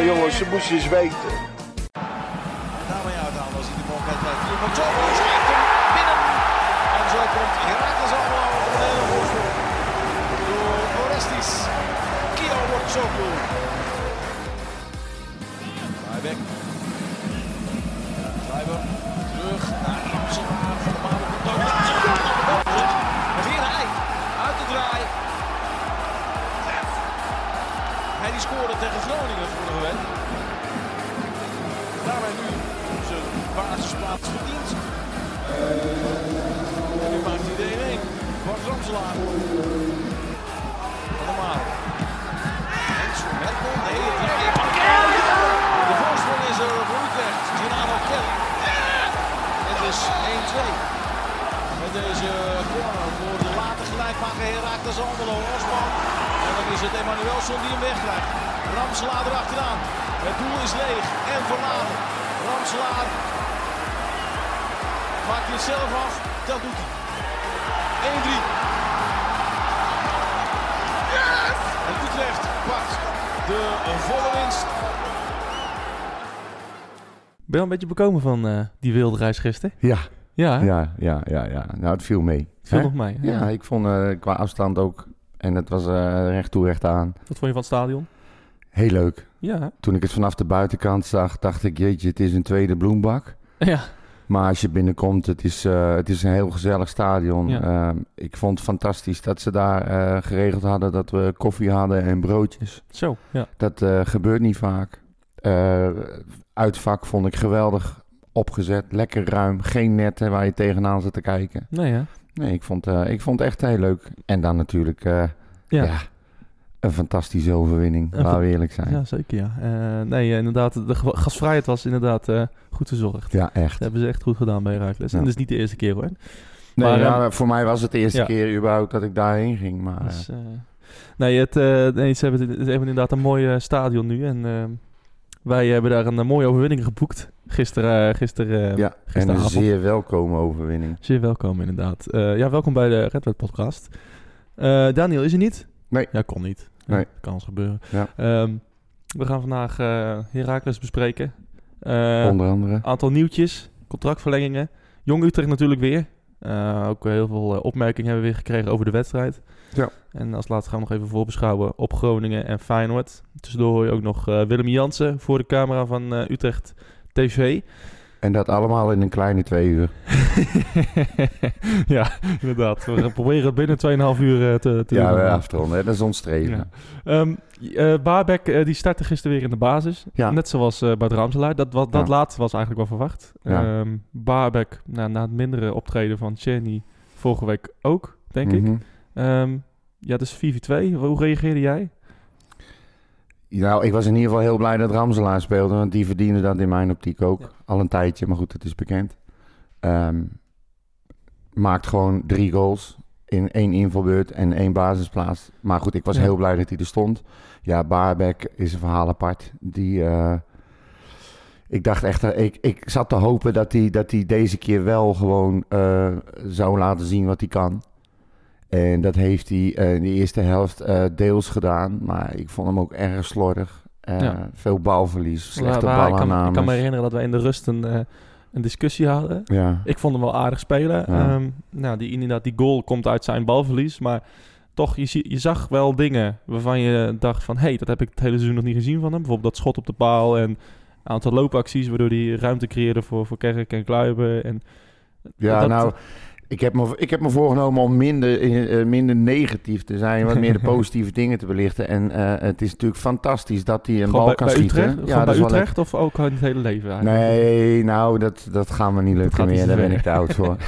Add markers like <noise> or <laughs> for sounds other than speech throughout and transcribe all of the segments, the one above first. moest je eens weten. Daarmee uithalen als hij de bal kwijt blijft. Iemand zo schrijft hem binnen. En zo komt Herakles allemaal op een hele voorsprong. Door Orestis. Kio wordt zo cool. Draaiweg. Draaiweg. Terug naar Amsterdam. Voormalig contact. En weer hij. Uit de draai. Hij die scoorde tegen Groningen vorige week. Daarmee nu zijn basisplaats verdient. En nu maakt hij de 1-1. Bart Ramselaar. Allemaal. Hens voor Merkel. Nee, het lijkt weer Van De voorsprong is er voor Utrecht. Gennaro Kelly. Het is 1-2. Met deze corner voor de late gelijkmaker Herakles Almelo Osman. En dan is het Emmanuelson die hem wegkrijgt. Ramselaar erachteraan. Het doel is leeg en verlaten. Ramselaar maakt het zelf af. Dat doet hij. 1-3. En Utrecht pakt de volle winst. Ben wel een beetje bekomen van eh, die wilde reis gisteren. Ja, Ja, hè? ja, ja, ja, ja. Nou, het viel mee. Het viel Hè? nog mij. Ja, ik vond eh, qua afstand ook, en het was eh, recht toe, recht aan, Wat vond je van het stadion? heel leuk. Ja. Toen ik het vanaf de buitenkant zag, dacht ik, jeetje, het is een tweede bloembak. Ja. Maar als je binnenkomt, het is, eh, het is een heel gezellig stadion. Ja. Ehm, ik vond het fantastisch dat ze daar eh, geregeld hadden dat we koffie hadden en broodjes. Zo. Ja. Dat eh, gebeurt niet vaak. Eh, uitvak vond ik geweldig opgezet. Lekker ruim. Geen netten waar je tegenaan zit te kijken. Nee, hè? Nee, ik vond, eh, ik vond het echt heel leuk. En dan natuurlijk eh, Ja. ja. een fantastische overwinning. Een laten we fa- eerlijk zijn. Ja, Ja, zeker ja. Eh, nee, eh, inderdaad, de ge- gastvrijheid was inderdaad eh, goed verzorgd. echt. Dat hebben ze echt goed gedaan bij Herakles. Ja. En dat is niet de eerste keer hoor. Nee, Maar, ehm, ja, voor mij was het de eerste ja. keer überhaupt dat ik daarheen ging. Maar eh, Dus, eh, nee, het, eh, nee, ze, hebben, het- ze hebben inderdaad een mooi eh, stadion nu. En eh, wij hebben daar een eh, mooie overwinning geboekt. Gisteren. eh gisteren eh, ja, en een gisteravond. zeer welkome overwinning. Zeer welkom inderdaad. Eh, ja, welkom bij de Red Wet podcast. Eh, Daniel is er niet? Nee. Ja, kon niet. Nee. Ja, kan eens gebeuren. Ja. Ehm, we gaan vandaag eh Heracles bespreken. Eh, Onder andere. aantal nieuwtjes, contractverlengingen. Jong Utrecht natuurlijk weer. Eh, ook heel veel eh, opmerkingen hebben we weer gekregen over de wedstrijd. Ja. En als laatste gaan we nog even voorbeschouwen op Groningen en Feyenoord. Tussendoor hoor je ook nog eh, Willem Jansen voor de camera van eh, Utrecht TV. En dat allemaal in een kleine twee uur. <laughs> ja, inderdaad. We gaan proberen het binnen 2,5 uur eh, te, te Ja, doen. we afronden. hè. Dat is ons streven. Ja. Ehm, j- eh, Baarbek eh, die startte gisteren weer in de basis. Ja. Net zoals eh Bart Ramselaar. Dat, wat, dat Ja. laatste was eigenlijk wel verwacht. Ja. Ehm, Baarbek, nou, na het mindere optreden van Chenny vorige week ook, denk ik. Mhm. Ehm, ja, dus 4v2. Hoe reageerde jij? Nou, ik was in ieder geval heel blij dat Ramselaar speelde, want die verdiende dat in mijn optiek ook. Ja. Al een tijdje, maar goed, het is bekend. Ehm, maakt gewoon drie goals in één invalbeurt en één basisplaats. Maar goed, ik was Ja. heel blij dat hij er stond. Ja, Baarbek is een verhaal apart. Die, eh, ik dacht echt, eh, ik, ik zat te hopen dat hij, dat hij deze keer wel gewoon eh, zou laten zien wat hij kan. En dat heeft hij eh, in de eerste helft eh, deels gedaan. Maar ik vond hem ook erg slordig. Eh, Ja. Veel balverlies, slechte Waar- waar- ik, kan, ik kan me balaannames. herinneren dat wij in de rust een, eh, een discussie hadden. Ja, Ik vond hem wel aardig spelen. Ja. Ehm, nou, die, inderdaad, die goal komt uit zijn balverlies. Maar toch, je, zie- je zag wel dingen waarvan je dacht van... hé, hey, dat heb ik het hele seizoen nog niet gezien van hem. Bijvoorbeeld dat schot op de paal en een aantal loopacties... waardoor hij ruimte creëerde voor, voor Kerk en Kluiben. En ja dat- nou, ik heb, me, ik heb me voorgenomen om minder, eh, eh, minder negatief te zijn. Wat <laughs> meer de positieve dingen te belichten. En eh, het is natuurlijk fantastisch dat hij een gewoon bal bij, kan bij schieten. Utrecht, gewoon bij is wel lekker. Utrecht of ook in het hele leven eigenlijk? Nee, nou, dat, dat gaan we niet gaat lukken niet meer. zo Daar ben ver. ik te oud voor. <laughs>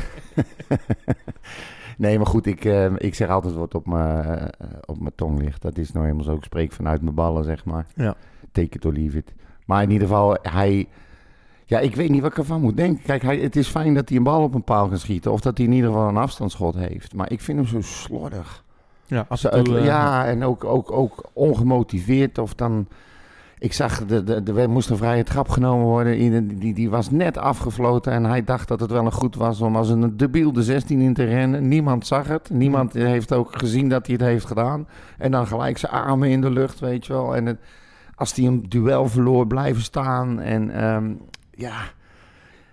nee, maar goed, ik, eh, ik zeg altijd wat op mijn eh, op mijn tong ligt. Dat is nou helemaal zo. Ik spreek vanuit mijn ballen, zeg maar. Ja. Take it or leave it. Maar in ieder geval, hij... Ja, ik weet niet wat ik ervan moet denken. Kijk, hij, het is fijn dat hij een bal op een paal kan schieten. Of dat hij in ieder geval een afstandsschot heeft. Maar ik vind hem zo slordig. Ja, af Zo, en toe, het- eh, ja, en ook, ook, ook ongemotiveerd. Of dan. Ik zag, de, de, de, er moest een vrije trap genomen worden. Ieder- Die, die, was net afgefloten. En hij dacht dat het wel een goed was om als een debiel de 16 in te rennen. Niemand zag het. Niemand Mhm. heeft ook gezien dat hij het heeft gedaan. En dan gelijk zijn armen in de lucht, weet je wel. En het, als hij een duel verloor, blijven staan. En ehm, ja,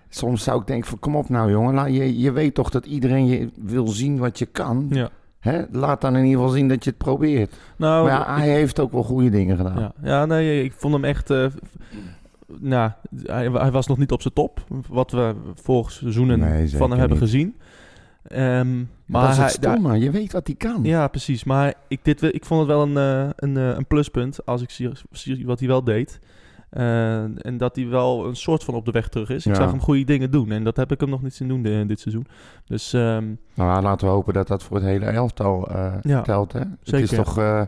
soms zou ik denken van kom op nou jongen. laat- je, je weet toch dat iedereen je wil zien wat je kan. Ja. Hè? Laat dan in ieder geval zien dat je het probeert. Nou, Maar ja, hij heeft ook wel goede dingen gedaan. Ja, ja nee, ik vond hem echt... eh, v- nou, hij, hij was nog niet op zijn top. Wat we vorig seizoenen Nee, van zeker hem hebben niet. gezien. Ehm, Maar dat maar is hij, het stomme. je weet wat hij kan. ja, precies. Maar ik, dit, ik vond het wel een, eh, een, eh, een pluspunt als ik zie, zie wat hij wel deed. Eh, en dat hij wel een soort van op de weg terug is. Ik Ja. zag hem goede dingen doen. En dat heb ik hem nog niet zien doen eh, dit seizoen. Dus ehm, Nou, laten we hopen dat dat voor het hele elftal eh, Ja, telt. Hè? Het zeker. is toch. eh,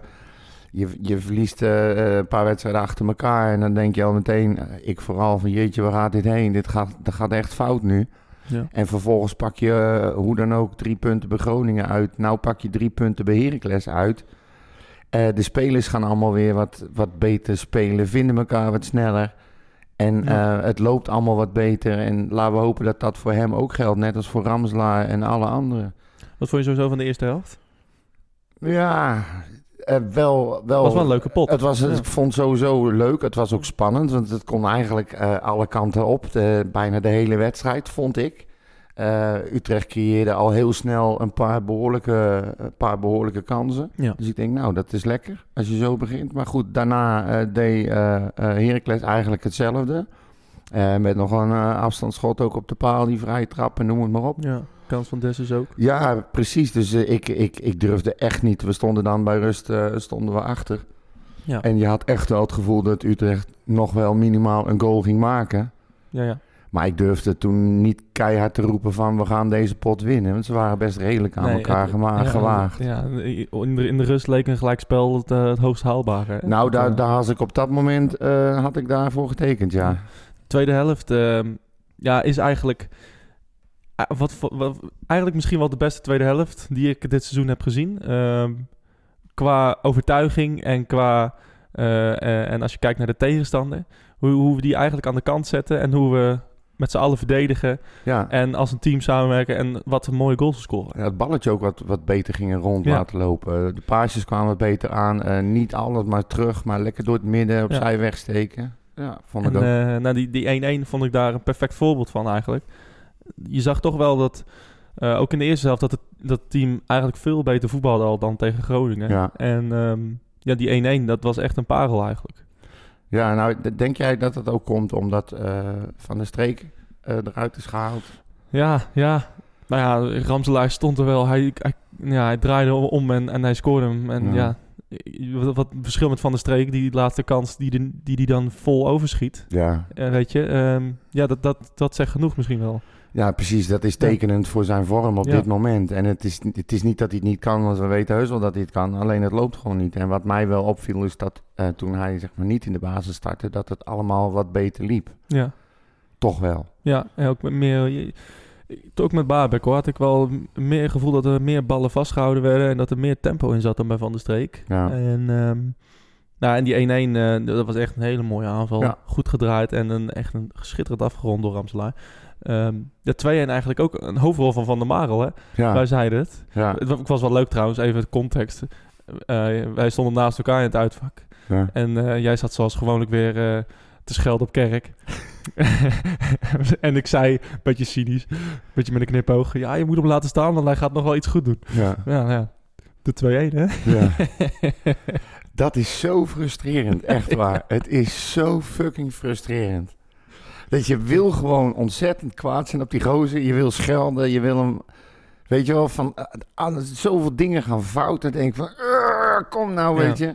je, je verliest eh, een paar wedstrijden achter elkaar. En dan denk je al meteen. eh, Ik vooral van jeetje, waar gaat dit heen? Dit gaat, dat gaat echt fout nu. ja. En vervolgens pak je eh, hoe dan ook drie punten bij Groningen uit. Nou pak je drie punten bij Heracles uit. Eh, de spelers gaan allemaal weer wat, wat beter spelen. Vinden elkaar wat sneller. En Ja. eh, het loopt allemaal wat beter. En laten we hopen dat dat voor hem ook geldt. Net als voor Ramslaar en alle anderen. Wat vond je sowieso van de eerste helft? Ja, eh, wel, wel. was wel een leuke pot. Het was, Ja. ik vond het sowieso leuk. Het was ook spannend, want het kon eigenlijk eh, alle kanten op. De- bijna de hele wedstrijd, vond ik. Eh, Utrecht creëerde al heel snel een paar behoorlijke, een paar behoorlijke kansen. Ja. Dus ik denk, nou, dat is lekker als je zo begint. Maar goed, daarna eh, deed eh eh, Heracles eigenlijk hetzelfde. Eh, met nog een eh, afstandsschot ook op de paal, die vrije trap en noem het maar op. Ja, kans van Dessus ook. Ja, precies. Dus eh, ik, ik, ik durfde echt niet. We stonden dan bij rust eh, stonden we achter. Ja. En je had echt wel het gevoel dat Utrecht nog wel minimaal een goal ging maken. Ja, ja. Maar ik durfde toen niet keihard te roepen van we gaan deze pot winnen. Want ze waren best redelijk aan Nee, elkaar het- gema- ja, gewaagd. Ja, in de, in de rust leek een gelijkspel het, eh, het hoogst haalbare. hè? Nou, Dat, daar, eh, daar had ik op dat moment eh, had ik daarvoor getekend, ja. tweede helft ehm, ja, is eigenlijk, eh, wat, voor- wat- eigenlijk misschien wel de beste tweede helft die ik dit seizoen heb gezien. Ehm, qua overtuiging en qua. eh, eh, en als je kijkt naar de tegenstander, hoe, hoe we die eigenlijk aan de kant zetten en hoe we met z'n allen verdedigen ja. en als een team samenwerken en wat een mooie goals scoren. Ja, Het balletje ook wat, wat beter ging rond Ja. laten lopen. De paasjes kwamen wat beter aan. Eh, niet alles maar terug, maar lekker door het midden opzij wegsteken. Ja, vond ik En ook. eh, nou, die, die 1-1 vond ik daar een perfect voorbeeld van eigenlijk. Je zag toch wel dat, eh, ook in de eerste helft, dat het dat het team eigenlijk veel beter voetbalde al dan tegen Groningen. Ja. En ehm, ja, die 1-1, dat was echt een parel eigenlijk. Ja, nou, d- denk jij dat dat ook komt omdat eh, Van der Streek eh, eruit is gehaald? Ja, ja. Nou ja, Ramselaar stond er wel. Hij, hij- ja, hij draaide om en, en hij scoorde hem. En ja, Ja. wat, wat verschil met Van der Streek, die laatste kans die de- die, die dan vol overschiet. Ja. Eh, weet je, ehm, ja, dat, dat, dat zegt genoeg misschien wel. Ja, precies. Dat is tekenend voor zijn vorm op Ja. dit moment. En het is, het is niet dat hij het niet kan, want we weten heus wel dat hij het kan. Alleen het loopt gewoon niet. En wat mij wel opviel is dat eh, toen hij zeg maar, niet in de basis startte, dat het allemaal wat beter liep. Ja. Toch wel. Ja, en ook met meer. je- Ook met Baarbek hoor, had ik wel m- meer het gevoel dat er meer ballen vastgehouden werden en dat er meer tempo in zat dan bij Van der Streek. Ja. En, ehm, nou, en die 1-1, eh, dat was echt een hele mooie aanval. Ja. Goed gedraaid en een, echt een geschitterend afgerond door Ramselaar. Ehm, de 2-1 eigenlijk ook een hoofdrol van Van der Marel, hè? Wij Ja, zeiden het. ja, Het wa- was wel leuk trouwens, even het context. Eh, wij stonden naast elkaar in het uitvak. ja. En eh, jij zat zoals gewoonlijk weer eh, te schelden op kerk. <laughs> en ik zei, een beetje cynisch, een beetje met een knipoog... Ja, je moet hem laten staan, want hij gaat nog wel iets goed doen. ja. Ja, ja. De 2-1, hè? Ja. <laughs> dat is zo frustrerend, echt waar. Het is zo fucking frustrerend. Dat je wil gewoon ontzettend kwaad zijn op die gozer. Je wil schelden, je wil hem... Weet je wel, van eh, alle- zoveel dingen gaan fout. Dan denk ik van, "Urgh, kom nou, weet je.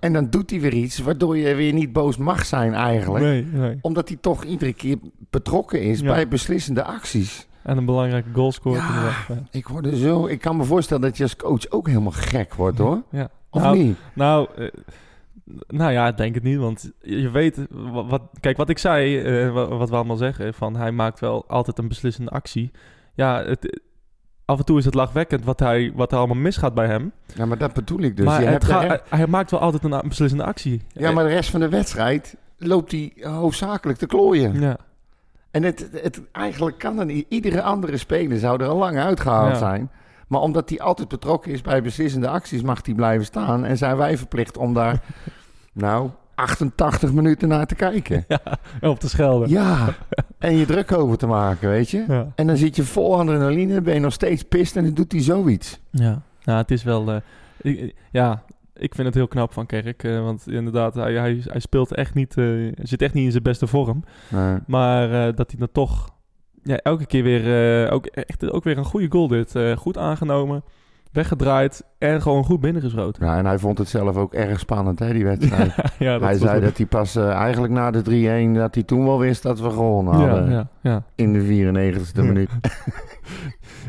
En dan doet hij weer iets waardoor je weer niet boos mag zijn eigenlijk. Nee, nee. Omdat hij toch iedere keer betrokken is Ja. bij beslissende acties. En een belangrijke goal scoort Ja. inderdaad. Ja. Ik, word er zo, ik kan me voorstellen dat je als coach ook helemaal gek wordt hoor. Ja. Of Nou, niet? Nou, eh, nou ja, ik denk het niet. Want je weet, wa- wat, kijk, wat ik zei, eh, wa- wat we allemaal zeggen, van hij maakt wel altijd een beslissende actie. Ja, het, eh, af en toe is het lachwekkend wat, hij, wat er allemaal misgaat bij hem. Ja, maar dat bedoel ik dus. maar je het hebt ga- er- hij, hij maakt wel altijd een a- beslissende actie. ja, maar de rest van de wedstrijd loopt hij hoofdzakelijk te klooien. Ja, En het, het, eigenlijk kan er niet. Iedere andere speler zou er al lang uitgehaald Ja. zijn. Maar omdat hij altijd <laughs> betrokken is bij beslissende acties, mag hij blijven staan. En zijn wij verplicht om daar, nou, 88 minuten naar te kijken. En op te schelden. Ja, en je druk over te maken, weet je. Ja. En dan zit je vol adrenaline, ben je nog steeds pist en dan doet hij zoiets. Ja, nou, het is wel. eh, ik- ik- ja, ik vind het heel knap van Kerk. eh, want inderdaad, hij, hij, hij speelt echt niet. eh, zit echt niet in zijn beste vorm. Maar Maar eh, dat hij dan toch. Ja, elke keer weer. eh, ook, echt, ook weer een goede goal dit. Eh, goed aangenomen, weggedraaid en gewoon goed binnengeschoten. Ja, en hij vond het zelf ook erg spannend, hè, die wedstrijd. <laughs> ja, dat hij was zei leuk. dat hij pas eh, eigenlijk na de 3-1, dat hij toen wel wist dat we gewonnen hadden. Ja, ja, ja. In de 94e Ja. minuut.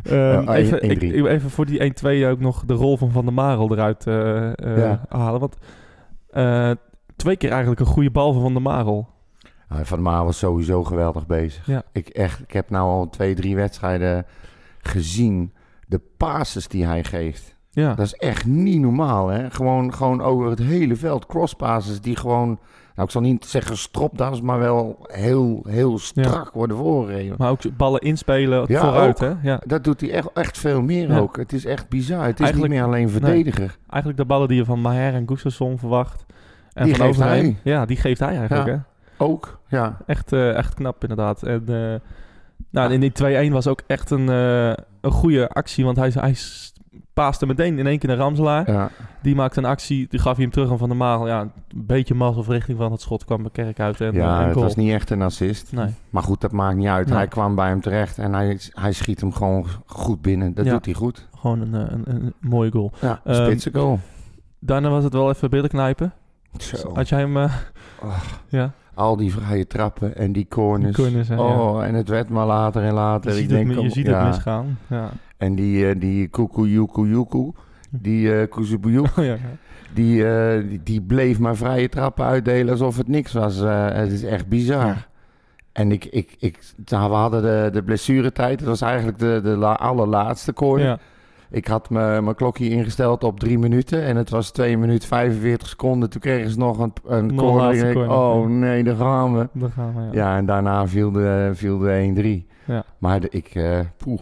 Ehm, Ja, even, 1-3. ik, ik wil even voor die 1-2 ook nog de rol van Van der Marel eruit eh, eh, Ja. halen. Want eh, twee keer eigenlijk een goede bal van Van der Marel. Ja, Van Maar was sowieso geweldig bezig. Ja. Ik, echt, ik heb nou al twee, drie wedstrijden gezien. De passes die hij geeft. Ja, Dat is echt niet normaal. Hè? Gewoon, gewoon over het hele veld. Crosspasses die gewoon, nou ik zal niet zeggen stropdas, maar wel heel, heel strak worden voorgegeven. maar ook ballen inspelen Ja, vooruit. Hè? Ja. Dat doet hij echt, echt veel meer Ja. ook. Het is echt bizar. Het is Eigenlijk- niet meer alleen verdediger. Eigenlijk de ballen die je van Maher en Gustafsson verwacht. En Die van geeft Overheem. hij. Ja, die geeft hij eigenlijk. Ja. Hè? Ook, ja. Echt, eh, echt knap inderdaad. En eh, nou, in die 2-1 was ook echt een, eh, een goede actie. Want hij, hij paaste meteen in één keer naar Ramselaar. ja. Die maakte een actie, die gaf hij hem terug aan Van der Marel. Ja, een beetje mazzel of richting van het schot kwam bij Kerk uit en, ja, eh, Nou. en het goal. was niet echt een assist. Nee, Maar goed, dat maakt niet uit. Nee. Hij kwam bij hem terecht en hij, hij schiet hem gewoon goed binnen. Dat Ja. doet hij goed. gewoon een, eh, een, een mooie goal. Ja, Ehm, spitse goal. Daarna was het wel even billen knijpen. Zo. Ah, Had jij hem... eh, ja, Al die vrije trappen en die corners. corners, hè, ja. oh, en het werd maar later en later. je ziet, ik het, denk, mi- je om- ziet ja. het misgaan. <laughs> Ja. <laughs> En die, eh die Kuku Yuku Yuku, die eh Kuzubuyu, Oh, ja, ja. die, eh, die, die bleef maar vrije trappen uitdelen alsof het niks was. Eh, het is echt bizar. En ik, ik, ik, nou, we hadden de, de blessuretijd. Dat was eigenlijk de, de la- allerlaatste corner. Ja. Ik had me- mijn klokje ingesteld op drie minuten en het was 2 minuten 45 seconden. Toen kregen ze nog een, een Nog corner. laatste Ik denk, corner, Oh ja. nee, daar gaan we. daar gaan we, ja. Ja, en daarna viel de, viel de 1-3. Ja. Maar de- ik, eh poeh,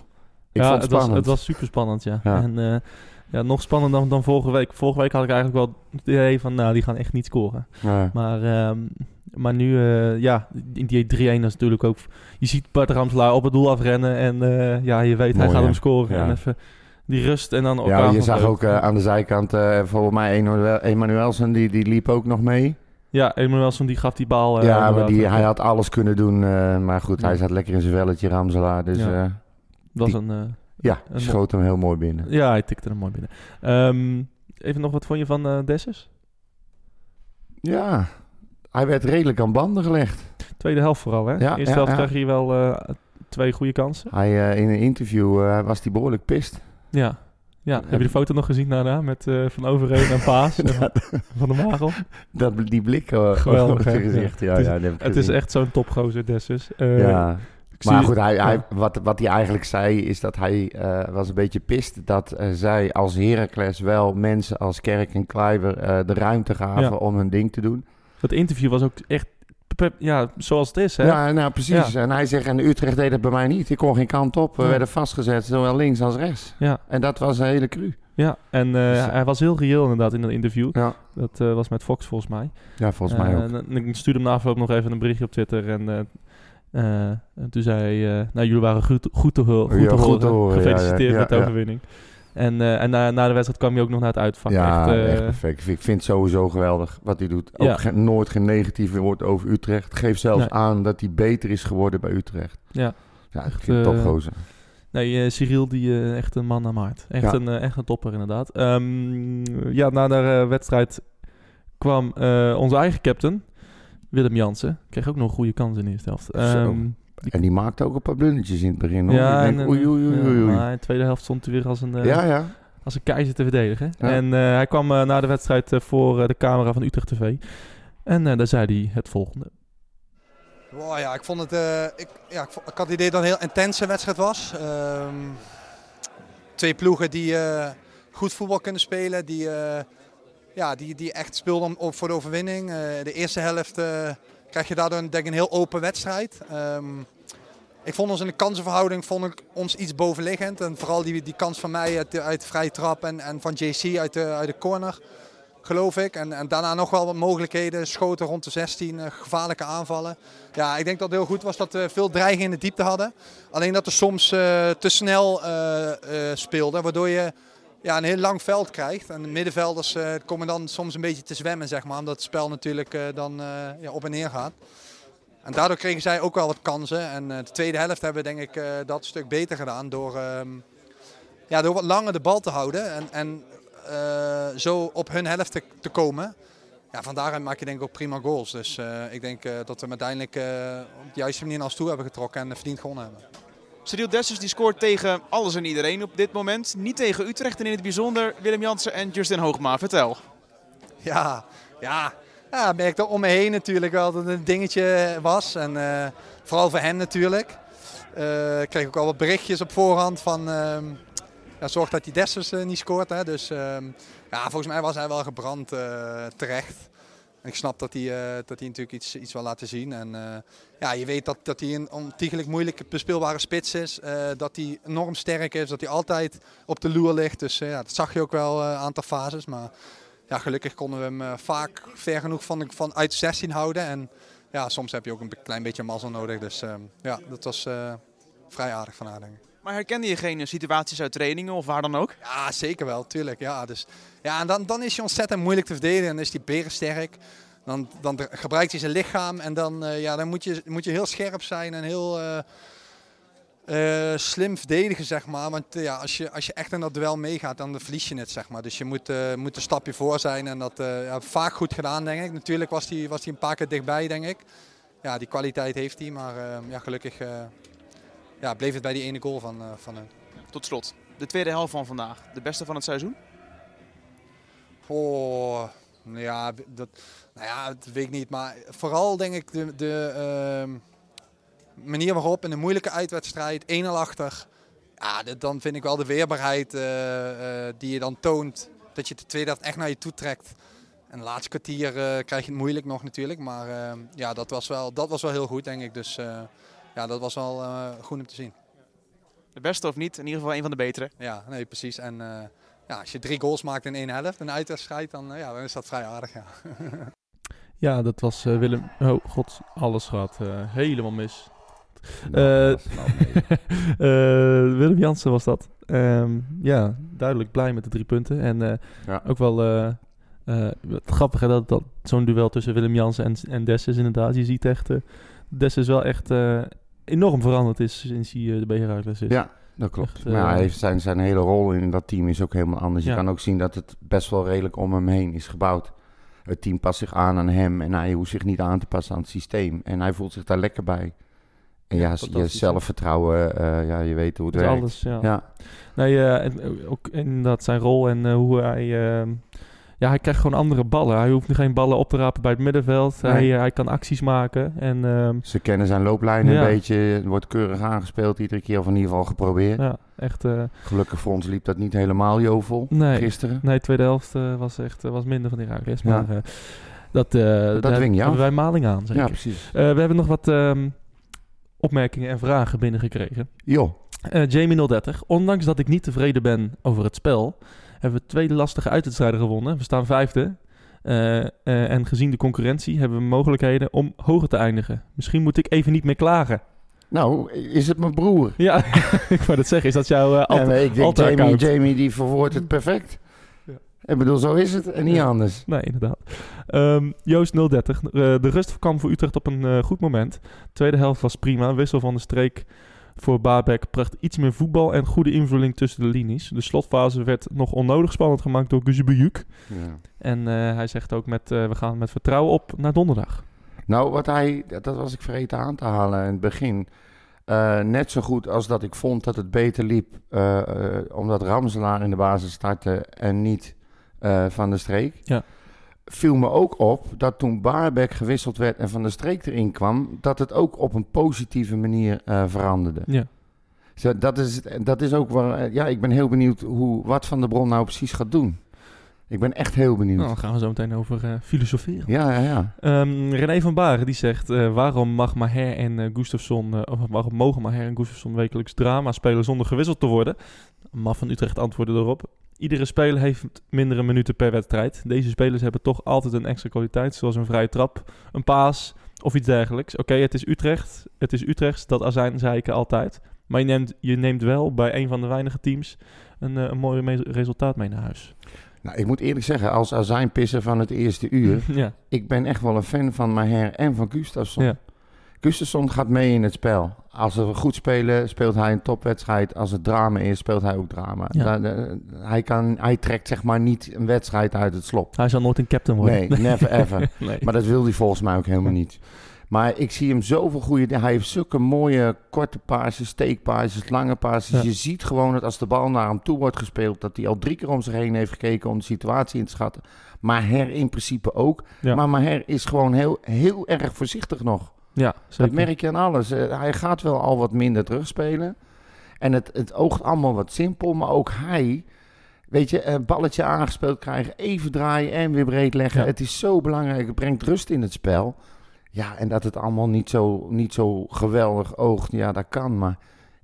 ik Ja, vond het het, was, spannend. het was super spannend, ja. Ja. En eh, ja, nog spannender dan, dan vorige week. Vorige week had ik eigenlijk wel het idee van, nou, die gaan echt niet scoren. Ja. Maar, ehm, maar nu, eh, ja, in die 3-1 is natuurlijk ook... Je ziet Bart Ramselaar op het doel afrennen en eh, ja, je weet, Mooi, hij gaat hè? hem scoren. Ja. En even die rust en dan Ja, elkaar je van zag leuk. ook eh, aan de zijkant, eh, volgens mij Emanuel- Emanuelsen, die, die liep ook nog mee. Ja, Emanuelson die gaf die bal... eh, ja, maar inderdaad. die, hij had alles kunnen doen. eh, maar goed, Ja. hij zat lekker in zijn velletje, Ramselaar. Dus Ja. ja, Dat was die- een... eh, ja Een schoot hem heel mooi binnen. ja, hij tikte er mooi binnen. Ehm, even nog, wat vond je van eh Dessers? Ja, hij werd redelijk aan banden gelegd. Tweede helft vooral, hè? Ja, Eerste ja, helft ja. kreeg hij wel eh, twee goede kansen. Hij, eh, in een interview eh, was hij behoorlijk pist. Ja. Ja, heb je de foto nog gezien daarna met eh, Van Overheen <laughs> en Paas en Van- Van de Marel? Dat, die blik eh, Geweldig, op zijn hè? gezicht. Ja, Het is- ja, dat heb ik Het is gezien. echt zo'n topgozer, Dessers. Eh, ja. ik Maar zie- goed, hij, hij, ja. wat, wat hij eigenlijk zei is dat hij eh, was een beetje pist dat eh, zij als Heracles wel mensen als Kerk en Kluiver eh, de ruimte gaven Ja. om hun ding te doen. Dat interview was ook echt, pep- ja, zoals het is, hè? Ja, nou precies. En hij zegt, en Utrecht deed dat bij mij niet. Ik kon geen kant op. We Ja. werden vastgezet, zowel links als rechts. Ja. En dat was een hele cru. Ja, en eh, Dus- hij was heel reëel inderdaad in dat interview. Ja, Dat eh, was met Fox volgens mij. ja volgens mij Eh, ook. en- en ik stuurde hem na afloop nog even een berichtje op Twitter. En, eh, eh, en toen zei hij, eh, nou jullie waren goed, goed te, ho- goed Ja, te goed horen. te horen, ja, ja. Gefeliciteerd Ja, met de ja. overwinning. En, eh, en na, na de wedstrijd kwam hij ook nog naar het uitvak. ja, echt, eh, echt perfect. Ik vind het sowieso geweldig wat hij doet. Ook Ja. geen- nooit geen negatieve woord over Utrecht. Geeft zelfs Nee. aan dat hij beter is geworden bij Utrecht. Ja. Ja, ik Echt, vind het eh, topgozer. Nee, eh, Cyril, die eh, echt een man naar maart. Echt, Ja. een, eh, echt een topper, inderdaad. Ehm, ja, na de eh, wedstrijd kwam eh, onze eigen captain, Willem Jansen. Kreeg ook nog een goede kans in de eerste helft. Zo. Ehm, En die maakte ook een paar blundertjes in het begin. Hoor. ja, Ja, en, eh, oei, oei, oei, ja, oei. maar in de tweede helft stond hij weer als een, eh, ja, ja. als een keizer te verdedigen. Ja. En eh, hij kwam eh, na de wedstrijd eh, voor eh, de camera van Utrecht TV. En eh, daar zei hij het volgende. Wow, ja, ik vond het. eh, ik, ja, ik, vo- ik had het idee dat het een heel intense wedstrijd was. Ehm, twee ploegen die eh, goed voetbal kunnen spelen, die, eh, ja, die, die echt speelden om, om- voor de overwinning. Eh, de eerste helft eh, krijg je daardoor denk ik, een heel open wedstrijd. Ehm, ik vond ons in de kansenverhouding vond ik ons iets bovenliggend. En vooral die, die kans van mij uit, de- uit de vrije trap en, en van JC uit de, uit de corner. geloof ik. En, en daarna nog wel wat mogelijkheden. Schoten rond de 16, eh, gevaarlijke aanvallen. Ja, ik denk dat het heel goed was dat we veel dreiging in de diepte hadden. Alleen dat we soms eh, te snel eh, eh, speelden, waardoor je ja, een heel lang veld krijgt. En de middenvelders eh, komen dan soms een beetje te zwemmen, zeg maar. Omdat het spel natuurlijk eh, dan eh, ja, op en neer gaat. En daardoor kregen zij ook wel wat kansen. En eh, de tweede helft hebben we denk ik eh, dat stuk beter gedaan door, ehm, ja, door wat langer de bal te houden en, en eh, zo op hun helft te, te komen. Ja, van daaruit maak je denk ik ook prima goals. Dus eh, ik denk eh, dat we hem uiteindelijk eh, op de juiste manier naar ons toe hebben getrokken en verdiend gewonnen hebben. Cyril Dessers die scoort tegen alles en iedereen op dit moment. Niet tegen Utrecht en in het bijzonder Willem Jansen en Justin Hoogma. Vertel. Ja, ja. Ja, ik merkte om me heen natuurlijk wel dat het een dingetje was. En eh, vooral voor hem natuurlijk. Eh, ik kreeg ook al wat berichtjes op voorhand van... ehm, ja, zorg dat die Dessers eh, niet scoort. Hè. Dus ehm, ja, volgens mij was hij wel gebrand eh, terecht. En ik snap dat hij, eh, dat hij natuurlijk iets, iets wil laten zien. En eh, ja, je weet dat, dat hij een ontiegelijk moeilijk bespeelbare spits is. eh, dat hij enorm sterk is. Dat hij altijd op de loer ligt. Dus eh, ja, dat zag je ook wel eh, een aantal fases. Maar ja, gelukkig konden we hem eh, vaak ver genoeg van, de- van uit 16 houden. En ja, soms heb je ook een be- klein beetje mazzel nodig. Dus ehm, ja, dat was eh, vrij aardig van haar, denk ik. Maar herkende je geen eh, situaties uit trainingen of waar dan ook? Ja, zeker wel, tuurlijk. Ja, dus, ja en dan, dan is hij ontzettend moeilijk te verdedigen. Dan is hij berensterk. Dan, dan dra- gebruikt hij zijn lichaam. En dan, eh, ja, dan moet, je, moet je heel scherp zijn en heel eh, eh, slim verdedigen, zeg maar. Want eh, ja, als, je, als je echt in dat duel meegaat, dan verlies je het, zeg maar. Dus je moet, eh, moet een stapje voor zijn. En dat eh, ja, vaak goed gedaan, denk ik. Natuurlijk was hij was die een paar keer dichtbij, denk ik. Ja, die kwaliteit heeft hij. Maar eh, ja, gelukkig eh, ja, bleef het bij die ene goal van, eh, van hun. Tot slot, de tweede helft van vandaag. De beste van het seizoen? Oh, ja, dat, nou ja, dat weet ik niet. Maar vooral denk ik de, de ehm, manier waarop in een moeilijke uitwedstrijd, 1-0 achter. Ja, dat, dan vind ik wel de weerbaarheid eh, eh, die je dan toont. Dat je de tweede helft echt naar je toe trekt. En het laatste kwartier eh, krijg je het moeilijk nog natuurlijk. Maar ehm, ja, dat was, wel, dat was wel heel goed denk ik. Dus eh, ja, dat was wel eh, goed om te zien. De beste of niet? In ieder geval een van de betere. Ja, nee, precies. En eh, ja, als je drie goals maakt in één helft, een uitwedstrijd, dan, eh, ja, dan is dat vrij aardig. Ja. Ja, dat was eh, Willem. Oh, god, alles gaat eh, helemaal mis. Nou, Eh, dat is nou mee. <laughs> Eh, Willem Jansen was dat. Ehm, ja, duidelijk blij met de drie punten. En eh, Ja. ook wel eh eh het grappige dat, dat zo'n duel tussen Willem Jansen en, en Des is inderdaad. Je ziet echt, eh Des is wel echt eh, enorm veranderd is sinds hij eh, bij Heracles is. Ja, dat klopt. Echt, maar ja, eh, hij heeft zijn, zijn hele rol in dat team is ook helemaal anders. Ja. Je kan ook zien dat het best wel redelijk om hem heen is gebouwd. Het team past zich aan aan hem en hij hoeft zich niet aan te passen aan het systeem. En hij voelt zich daar lekker bij. En ja, je fantastisch. zelfvertrouwen, eh, ja, je weet hoe het Dat is werkt. alles, ja. Ja, Nee, eh, en ook inderdaad zijn rol en eh, hoe hij... eh, ja, hij krijgt gewoon andere ballen. Hij hoeft nu geen ballen op te rapen bij het middenveld. Nee. Hij, eh, hij kan acties maken. En ehm, ze kennen zijn looplijn Ja. een beetje. Het wordt keurig aangespeeld iedere keer, of in ieder geval geprobeerd. ja, echt... eh, Gelukkig voor ons liep dat niet helemaal jovel nee, gisteren. Nee, de tweede helft eh, was echt eh, was minder van Heracles. Ja. Maar eh, dat, eh daar dwing je hebben af. wij maling aan, zeker. Ja, precies. Eh, we hebben nog wat ehm, opmerkingen en vragen binnengekregen. Joh, Eh Jamie 030. Ondanks dat ik niet tevreden ben over het spel, hebben we twee lastige uitwedstrijden gewonnen. We staan vijfde. Eh, eh, en gezien de concurrentie hebben we mogelijkheden om hoger te eindigen. Misschien moet ik even niet meer klagen. nou is het mijn broer? Ja, <laughs> ik wou dat zeggen. Is dat jouw eh, Ja, alter- maar ik denk, alter Jamie, account? Jamie die verwoordt het perfect. Ja. Ik bedoel, zo is het en niet Ja. anders. Nee, inderdaad. Ehm, Joost 030. Eh, de rust kwam voor Utrecht op een eh, goed moment. Tweede helft was prima. Wissel van de streek voor Baabek bracht iets meer voetbal en goede invulling tussen de linies. De slotfase werd nog onnodig spannend gemaakt door Guzebujuk. Ja. En eh, hij zegt ook met eh, we gaan met vertrouwen op naar donderdag. Nou, wat hij, dat dat was ik vergeten aan te halen in het begin. Eh, net zo goed als dat ik vond dat het beter liep, eh, eh, omdat Ramselaar in de basis startte en niet eh, Van de Streek. Ja. Viel me ook op dat toen Baarbek gewisseld werd en Van de Streek erin kwam, dat het ook op een positieve manier eh, veranderde. Ja. Zo, dat, is, dat is ook waar. eh, Ja, ik ben heel benieuwd hoe, wat Van de Bron nou precies gaat doen. Ik ben echt heel benieuwd. Nou, dan gaan we zo meteen over eh, filosoferen. Ja, ja, ja. Ehm, René van Baren die zegt: eh, waarom mag Maher en eh, Gustafsson, eh, of waarom mogen Maher en Gustafsson wekelijks drama spelen zonder gewisseld te worden? Maf van Utrecht antwoordde erop: Iedere speler heeft mindere minuten per wedstrijd. Deze spelers hebben toch altijd een extra kwaliteit, zoals een vrije trap, een paas of iets dergelijks. Oké, het is Utrecht. Het is Utrecht, dat azijn zeiken altijd. Maar je neemt, je neemt wel bij een van de weinige teams een, eh, een mooi me- resultaat mee naar huis. Nou, ik moet eerlijk zeggen, als azijnpisser van het eerste uur... <laughs> ja. ik ben echt wel een fan van Maher en van Gustafsson. Ja. Gustafsson gaat mee in het spel. Als we goed spelen, speelt hij een topwedstrijd. Als het drama is, speelt hij ook drama. Ja. Da- da- hij, kan, hij trekt zeg maar niet een wedstrijd uit het slop. Hij zal nooit een captain worden. Nee, never ever. <laughs> Nee. Maar dat wil hij volgens mij ook helemaal niet. Maar ik zie hem zoveel goede... Hij heeft zulke mooie korte paasjes, steekpaasjes, lange paasjes. Ja. Je ziet gewoon dat als de bal naar hem toe wordt gespeeld... dat hij al drie keer om zich heen heeft gekeken om de situatie in te schatten. Maar her in principe ook. Ja. Maar Maher is gewoon heel, heel erg voorzichtig nog. ja, zeker. Dat merk je aan alles. Eh, hij gaat wel al wat minder terugspelen. En het, het oogt allemaal wat simpel, maar ook hij... Weet je, een balletje aangespeeld krijgen, even draaien en weer breed leggen. Ja. Het is zo belangrijk, het brengt rust in het spel. Ja, en dat het allemaal niet zo, niet zo geweldig oogt, ja, dat kan. Maar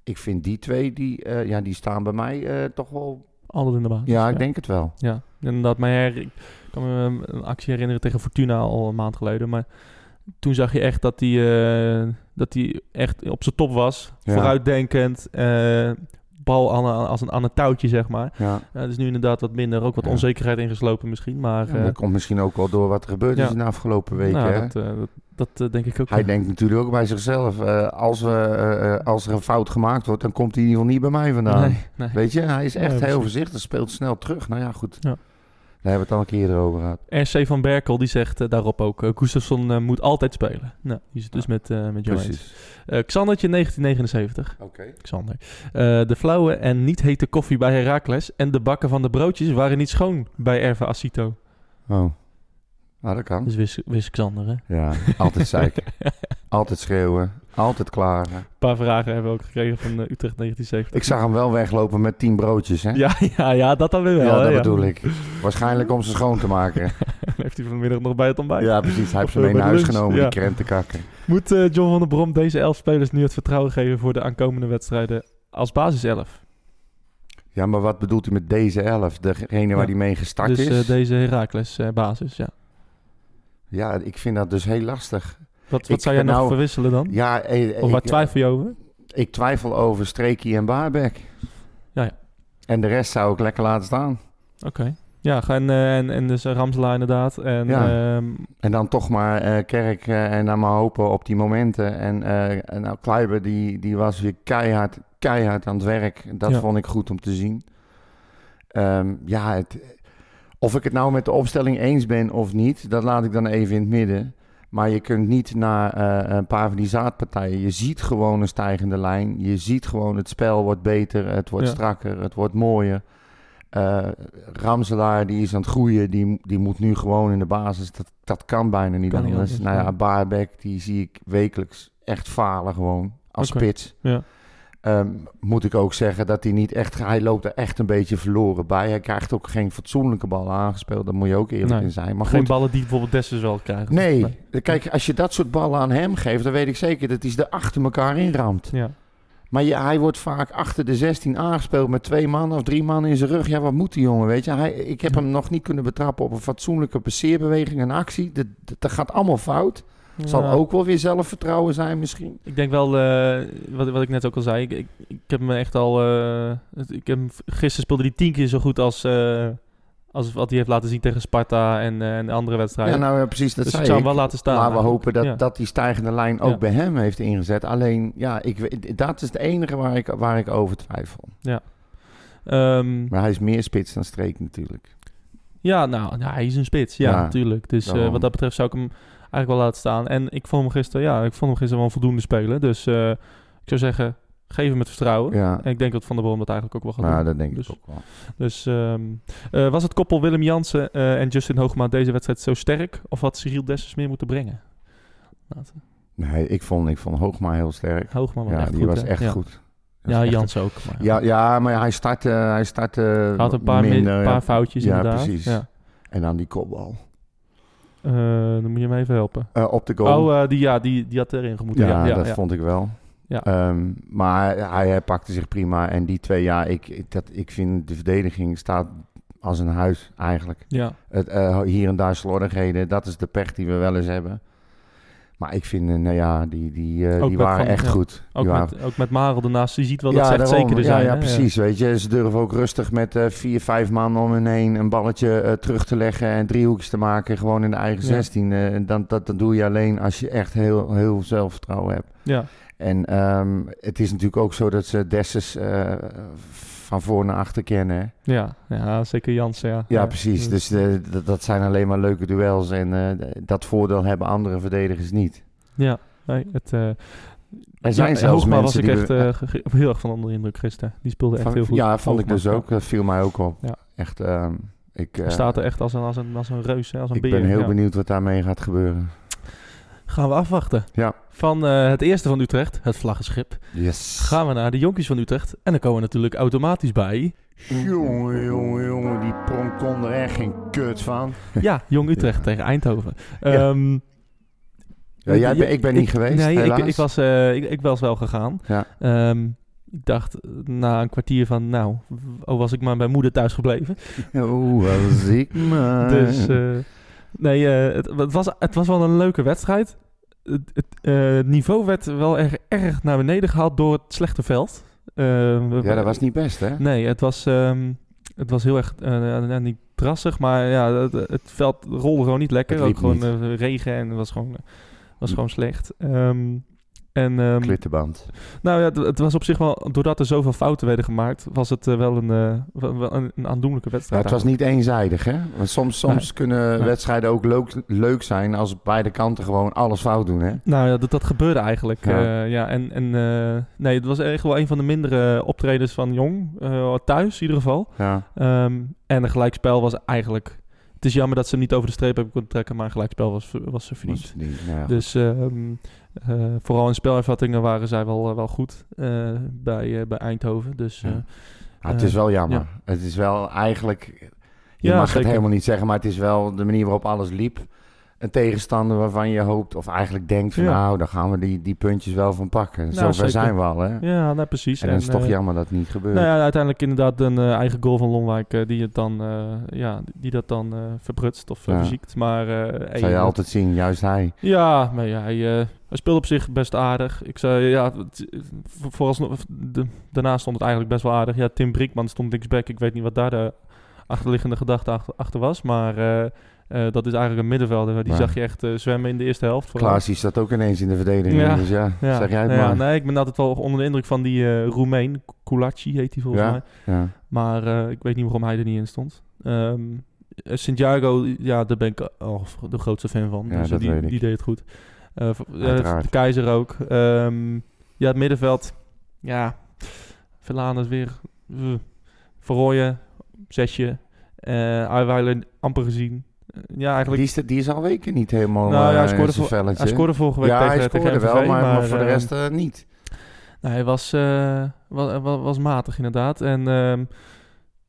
ik vind die twee, die, eh, ja, die staan bij mij eh, toch wel... Altijd in de baas. Ja, ik denk het wel. Ja, inderdaad. Maar her, ik kan me um, een actie herinneren tegen Fortuna al een maand geleden. Maar toen zag je echt dat hij eh, dat hij echt op zijn top was. Ja. Vooruitdenkend. eh, bal aan, aan- als een, aan een touwtje, zeg maar. Ja. Ja, dus nu inderdaad wat minder. Ook wat Ja. onzekerheid ingeslopen misschien. Maar En eh, dat komt misschien ook wel door wat er gebeurd is Ja. in de afgelopen weken. nou, hè? dat, eh, dat, dat, eh, denk ik ook. Hij ja. denkt natuurlijk ook bij zichzelf, eh, als, we, eh, eh, als er een fout gemaakt wordt, dan komt hij in ieder geval niet bij mij vandaan. Nee, nee. Weet je, hij is Nee, echt precies. heel voorzichtig, speelt snel terug. Nou ja, goed. Ja. Daar hebben we het al een keer over gehad. RC van Berkel die zegt eh, daarop ook: eh, Gustafsson eh, moet altijd spelen. Nou, die zit dus met, eh met Joyce. Precies. Eh, Xandertje 1979. Oké. Xander. Eh, de flauwe en niet hete koffie bij Herakles en de bakken van de broodjes waren niet schoon bij Erva Asito. Oh. Nou, dat kan. Dus wist, wist Xander, hè? Ja, altijd <laughs> zeiken. altijd schreeuwen. Altijd klagen. Een paar vragen hebben we ook gekregen van eh, Utrecht 1970. Ik zag hem wel weglopen met tien broodjes, hè? Ja, ja, ja, dat dan weer wel. Ja, hè, dat bedoel ik. Waarschijnlijk om ze schoon te maken. <laughs> Heeft hij vanmiddag nog bij het ontbijt. Ja, precies. Hij heeft ze Of, eh, mee naar bij huis lunch, genomen, ja. die krentenkakken. Moet eh, John van der Brom deze elf spelers nu het vertrouwen geven voor de aankomende wedstrijden als basiself? Ja, maar wat bedoelt hij met deze elf? Degene waar Ja. die mee gestart Dus is? eh, deze Herakles eh, basis, ja. Ja, ik vind dat dus heel lastig. Wat, Ik wat zou jij ben nog nou- verwisselen dan? Ja, eh, of waar ik, twijfel je over? ik twijfel over Streekie en Baarbek. Ja, ja. En de rest zou ik lekker laten staan. Oké. Ja, en, eh, en, en dus Ramselaar inderdaad. En Ja. ehm, En dan toch maar eh, Kerk eh, en dan maar hopen op die momenten. En, eh, en nou, Kluiber, die, die was weer keihard, keihard aan het werk. Dat Ja. vond ik goed om te zien. Ehm, ja, het, of ik het nou met de opstelling eens ben of niet, dat laat ik dan even in het midden. Maar je kunt niet naar eh, een paar van die zaadpartijen. Je ziet gewoon een stijgende lijn. Je ziet gewoon het spel wordt beter, het wordt Ja. strakker, het wordt mooier. Eh, Ramselaar die is aan het groeien, die, die moet nu gewoon in de basis. Dat, dat kan bijna niet Kan niet anders. anders, nou ja, ja. Baarbek die zie ik wekelijks echt falen gewoon als Oké, spits. ja. Ehm, moet ik ook zeggen dat hij niet echt... Hij loopt er echt een beetje verloren bij. Hij krijgt ook geen fatsoenlijke bal aangespeeld. Daar moet je ook eerlijk Nee. in zijn. Maar geen goed, ballen die bijvoorbeeld Dessers wel krijgen. Nee, kijk, als je dat soort ballen aan hem geeft, dan weet ik zeker dat hij ze er achter elkaar inramt. Ja. Maar je- hij wordt vaak achter de 16 aangespeeld met twee mannen of drie mannen in zijn rug. Ja, wat moet die jongen, weet je? Hij, ik heb Ja. hem nog niet kunnen betrappen op een fatsoenlijke passeerbeweging en actie. Dat, dat, dat gaat allemaal fout. Zal Ja. ook wel weer zelfvertrouwen zijn misschien. Ik denk wel, eh, wat, wat ik net ook al zei, ik, ik, ik heb me echt al... eh, het- ik heb, hem- gisteren speelde hij tien keer zo goed als, eh, als wat hij heeft laten zien tegen Sparta en, eh, en de andere Ja, wedstrijden. nou ja, precies, dat dus ik zei zou ik. hem wel laten staan. Maar we eigenlijk. hopen dat, Ja. dat die stijgende lijn ook Ja. bij hem heeft ingezet. Alleen, ja, ik, weet- dat is het enige waar ik, waar ik over twijfel. Ehm, Maar hij is meer spits dan streek natuurlijk. Ja, nou, nou, hij is een spits. Ja, Ja, natuurlijk. Dus eh, daarom. wat dat betreft zou ik hem eigenlijk wel laten staan. En ik vond hem gisteren, ja, ik vond hem gisteren wel een voldoende spelen. Dus eh, ik zou zeggen, geef hem het vertrouwen. Ja, En ik denk dat Van der Boom dat eigenlijk ook wel gaat nou, doen. dat denk ik Dus- ook wel. Dus ehm, eh, was het koppel Willem Jansen eh, en Justin Hoogma deze wedstrijd zo sterk? Of had Cyril Dessers meer moeten brengen? Laten. Nee, ik vond, ik vond Hoogma heel sterk. Hoogma was ja, echt die goed. was hè? echt ja. goed. Dat Ja, was echt- Jansen ook. Maar Ja, ja, maar hij startte, hij startte Hij had een paar, mi- minder, ja. paar foutjes eh, ja, inderdaad. Precies. Ja. En dan die kopbal. Eh, dan moet je me even helpen. Eh, op de goal. Oh, eh, die, ja, die, die had erin gemoeten. ja, Ja, ja, dat ja. vond ik wel. Ja. Ehm, maar hij, hij pakte zich prima. En die twee jaar, ik, ik- dat, ik vind de verdediging staat als een huis eigenlijk. Ja, Het, eh, hier en daar slordigheden, dat is de pech die we wel eens hebben. Maar ik vind, eh, nou ja, die, die, eh, Ook die met waren Van- echt ja. goed. ook, die waren met, ook met Marel ernaast. Je ziet wel dat ze echt daarom. zeker er ja, zijn. Ja, hè? precies. Weet je, ze durven ook rustig met eh, vier, vijf man om hun heen een balletje eh, terug te leggen en driehoekjes te maken. Gewoon in de eigen Ja. 16. eh, en dan, dat, dat doe je alleen als je echt heel, heel zelfvertrouwen hebt. Ja, En ehm, het is natuurlijk ook zo dat ze Dessus eh, van voor naar achter kennen. hè? ja, ja zeker Jansen. Ja, Ja, precies. Dus eh, dat- dat zijn alleen maar leuke duels. En eh, dat voordeel hebben andere verdedigers niet. Ja, nee, het... eh, Er zijn ja, zelfs Hoogma mensen was ik die echt we- eh, ge- ge- heel erg van onder de indruk gisteren. Die speelde echt Van- heel goed. ja, vond ik Hoogma, dus ook. Dat viel mij ook op. Ja. Echt, ehm, ik, eh, ja. Staat er echt als een, als een, als een reus, hè, als een ik beer. ben heel ja. benieuwd wat daarmee gaat gebeuren. Gaan we afwachten. Ja. Van eh, het eerste van Utrecht, het vlaggenschip, Yes. gaan we naar de jonkies van Utrecht. En dan komen we natuurlijk automatisch <laughs> bij... Jongen, jongen, jongen. Die pronk kon er echt geen kut van. Ja, Jong Utrecht tegen Eindhoven. Ja. Ehm, Ja, jij ben- ik ben niet ik- geweest, Nee, ik, helaas. ik, <laughs> was, eh, ik, ik was wel gegaan. Ja. Ehm, ik dacht eh, na een kwartier van, nou, w- oh, was ik maar bij moeder thuis gebleven. Oeh, wat Oh, ziek man. <laughs> Dus eh, nee, eh, het, het was, het was wel een leuke wedstrijd. Het, het eh, niveau werd wel erg, erg naar beneden gehaald door het slechte veld. Eh, we- ja, dat was niet best, hè? Nee, het was, ehm, het was heel erg eh, ja, niet drassig, maar ja, het, het veld rolde gewoon niet lekker. Het liep Ook gewoon niet. eh, regen en het was gewoon, eh, was Hm. gewoon slecht. Ehm, en, ehm, Klittenband. nou ja, het, het was op zich wel, doordat er zoveel fouten werden gemaakt, was het eh, wel, een, eh, wel wel een, een aandoenlijke Ja, wedstrijd. het was niet eenzijdig, hè? Want soms, soms kunnen Nee. wedstrijden ook leuk, leuk zijn als beide kanten gewoon alles fout doen, hè? Nou ja, dat, dat gebeurde eigenlijk. Ja. Ja, ja en, en eh, nee, het was echt wel een van de mindere optredens van Jong. eh, thuis in ieder geval. Ja. Ehm, en een gelijkspel was eigenlijk. Het is jammer dat ze hem niet over de streep hebben kunnen trekken, maar een gelijkspel was, was ze verdiend. Was niet, nou ja, goed. Dus ehm, eh, vooral in spelervattingen waren zij wel, eh, wel goed eh, bij, eh, bij Eindhoven. Dus eh, Ja. Ah, het is wel jammer. ja. Het is wel eigenlijk... Je Ja, mag het zeker. helemaal niet zeggen, maar het is wel de manier waarop alles liep. Een tegenstander waarvan je hoopt of eigenlijk denkt van... Ja. Nou, nou, daar gaan we die, die puntjes wel van pakken. Zover zeker. zijn we al, hè? ja, nou, precies. En dan is het toch eh, jammer dat het niet gebeurt. nou ja, uiteindelijk inderdaad een eh, eigen goal van Lonwijk eh, die, het dan, eh, ja, die dat dan eh, verprutst of eh, Ja. verziekt. Maar, eh, Dat hey, zou je altijd zien, juist hij. Ja, maar ja, hij, eh, hij speelde op zich best aardig. Ik zei, ja, het- voor- vooralsnog, de- daarna stond het eigenlijk best wel aardig. Ja, Tim Brinkman stond linksback. Ik weet niet wat daar de achterliggende gedachte achter, achter was. Maar eh, eh, dat is eigenlijk een middenvelder. Die Maar- zag je echt eh, zwemmen in de eerste helft. vooral. Klaas die staat ook ineens in de verdediging, Ja. dus ja, Ja, zeg jij het nou ja, maar. nee, ik ben altijd wel onder de indruk van die eh Roemeen. Kulaci heet hij volgens Ja. mij. Ja. Maar eh, ik weet niet waarom hij er niet in stond. Ehm eh, Santiago, ja, daar ben ik al de grootste fan van. Ja, dus eh, dat die, weet ik. die deed het goed. Eh, v- eh, Uiteraard. de Keizer ook. Ehm, ja, het middenveld. Ja, Verlaan is weer... Uh, Verrooyen, zesje. eh Aiweiler amper gezien. Eh, ja, eigenlijk... Die, is, die is al weken niet helemaal Nou ja, hij eh, scoorde in zijn voor- velletje. hij scoorde vorige week ja, tegen, hij scoorde tegen wel, MVV, maar, maar voor de ehm, rest eh, niet. nou, hij was, was, was, matig inderdaad. En ehm,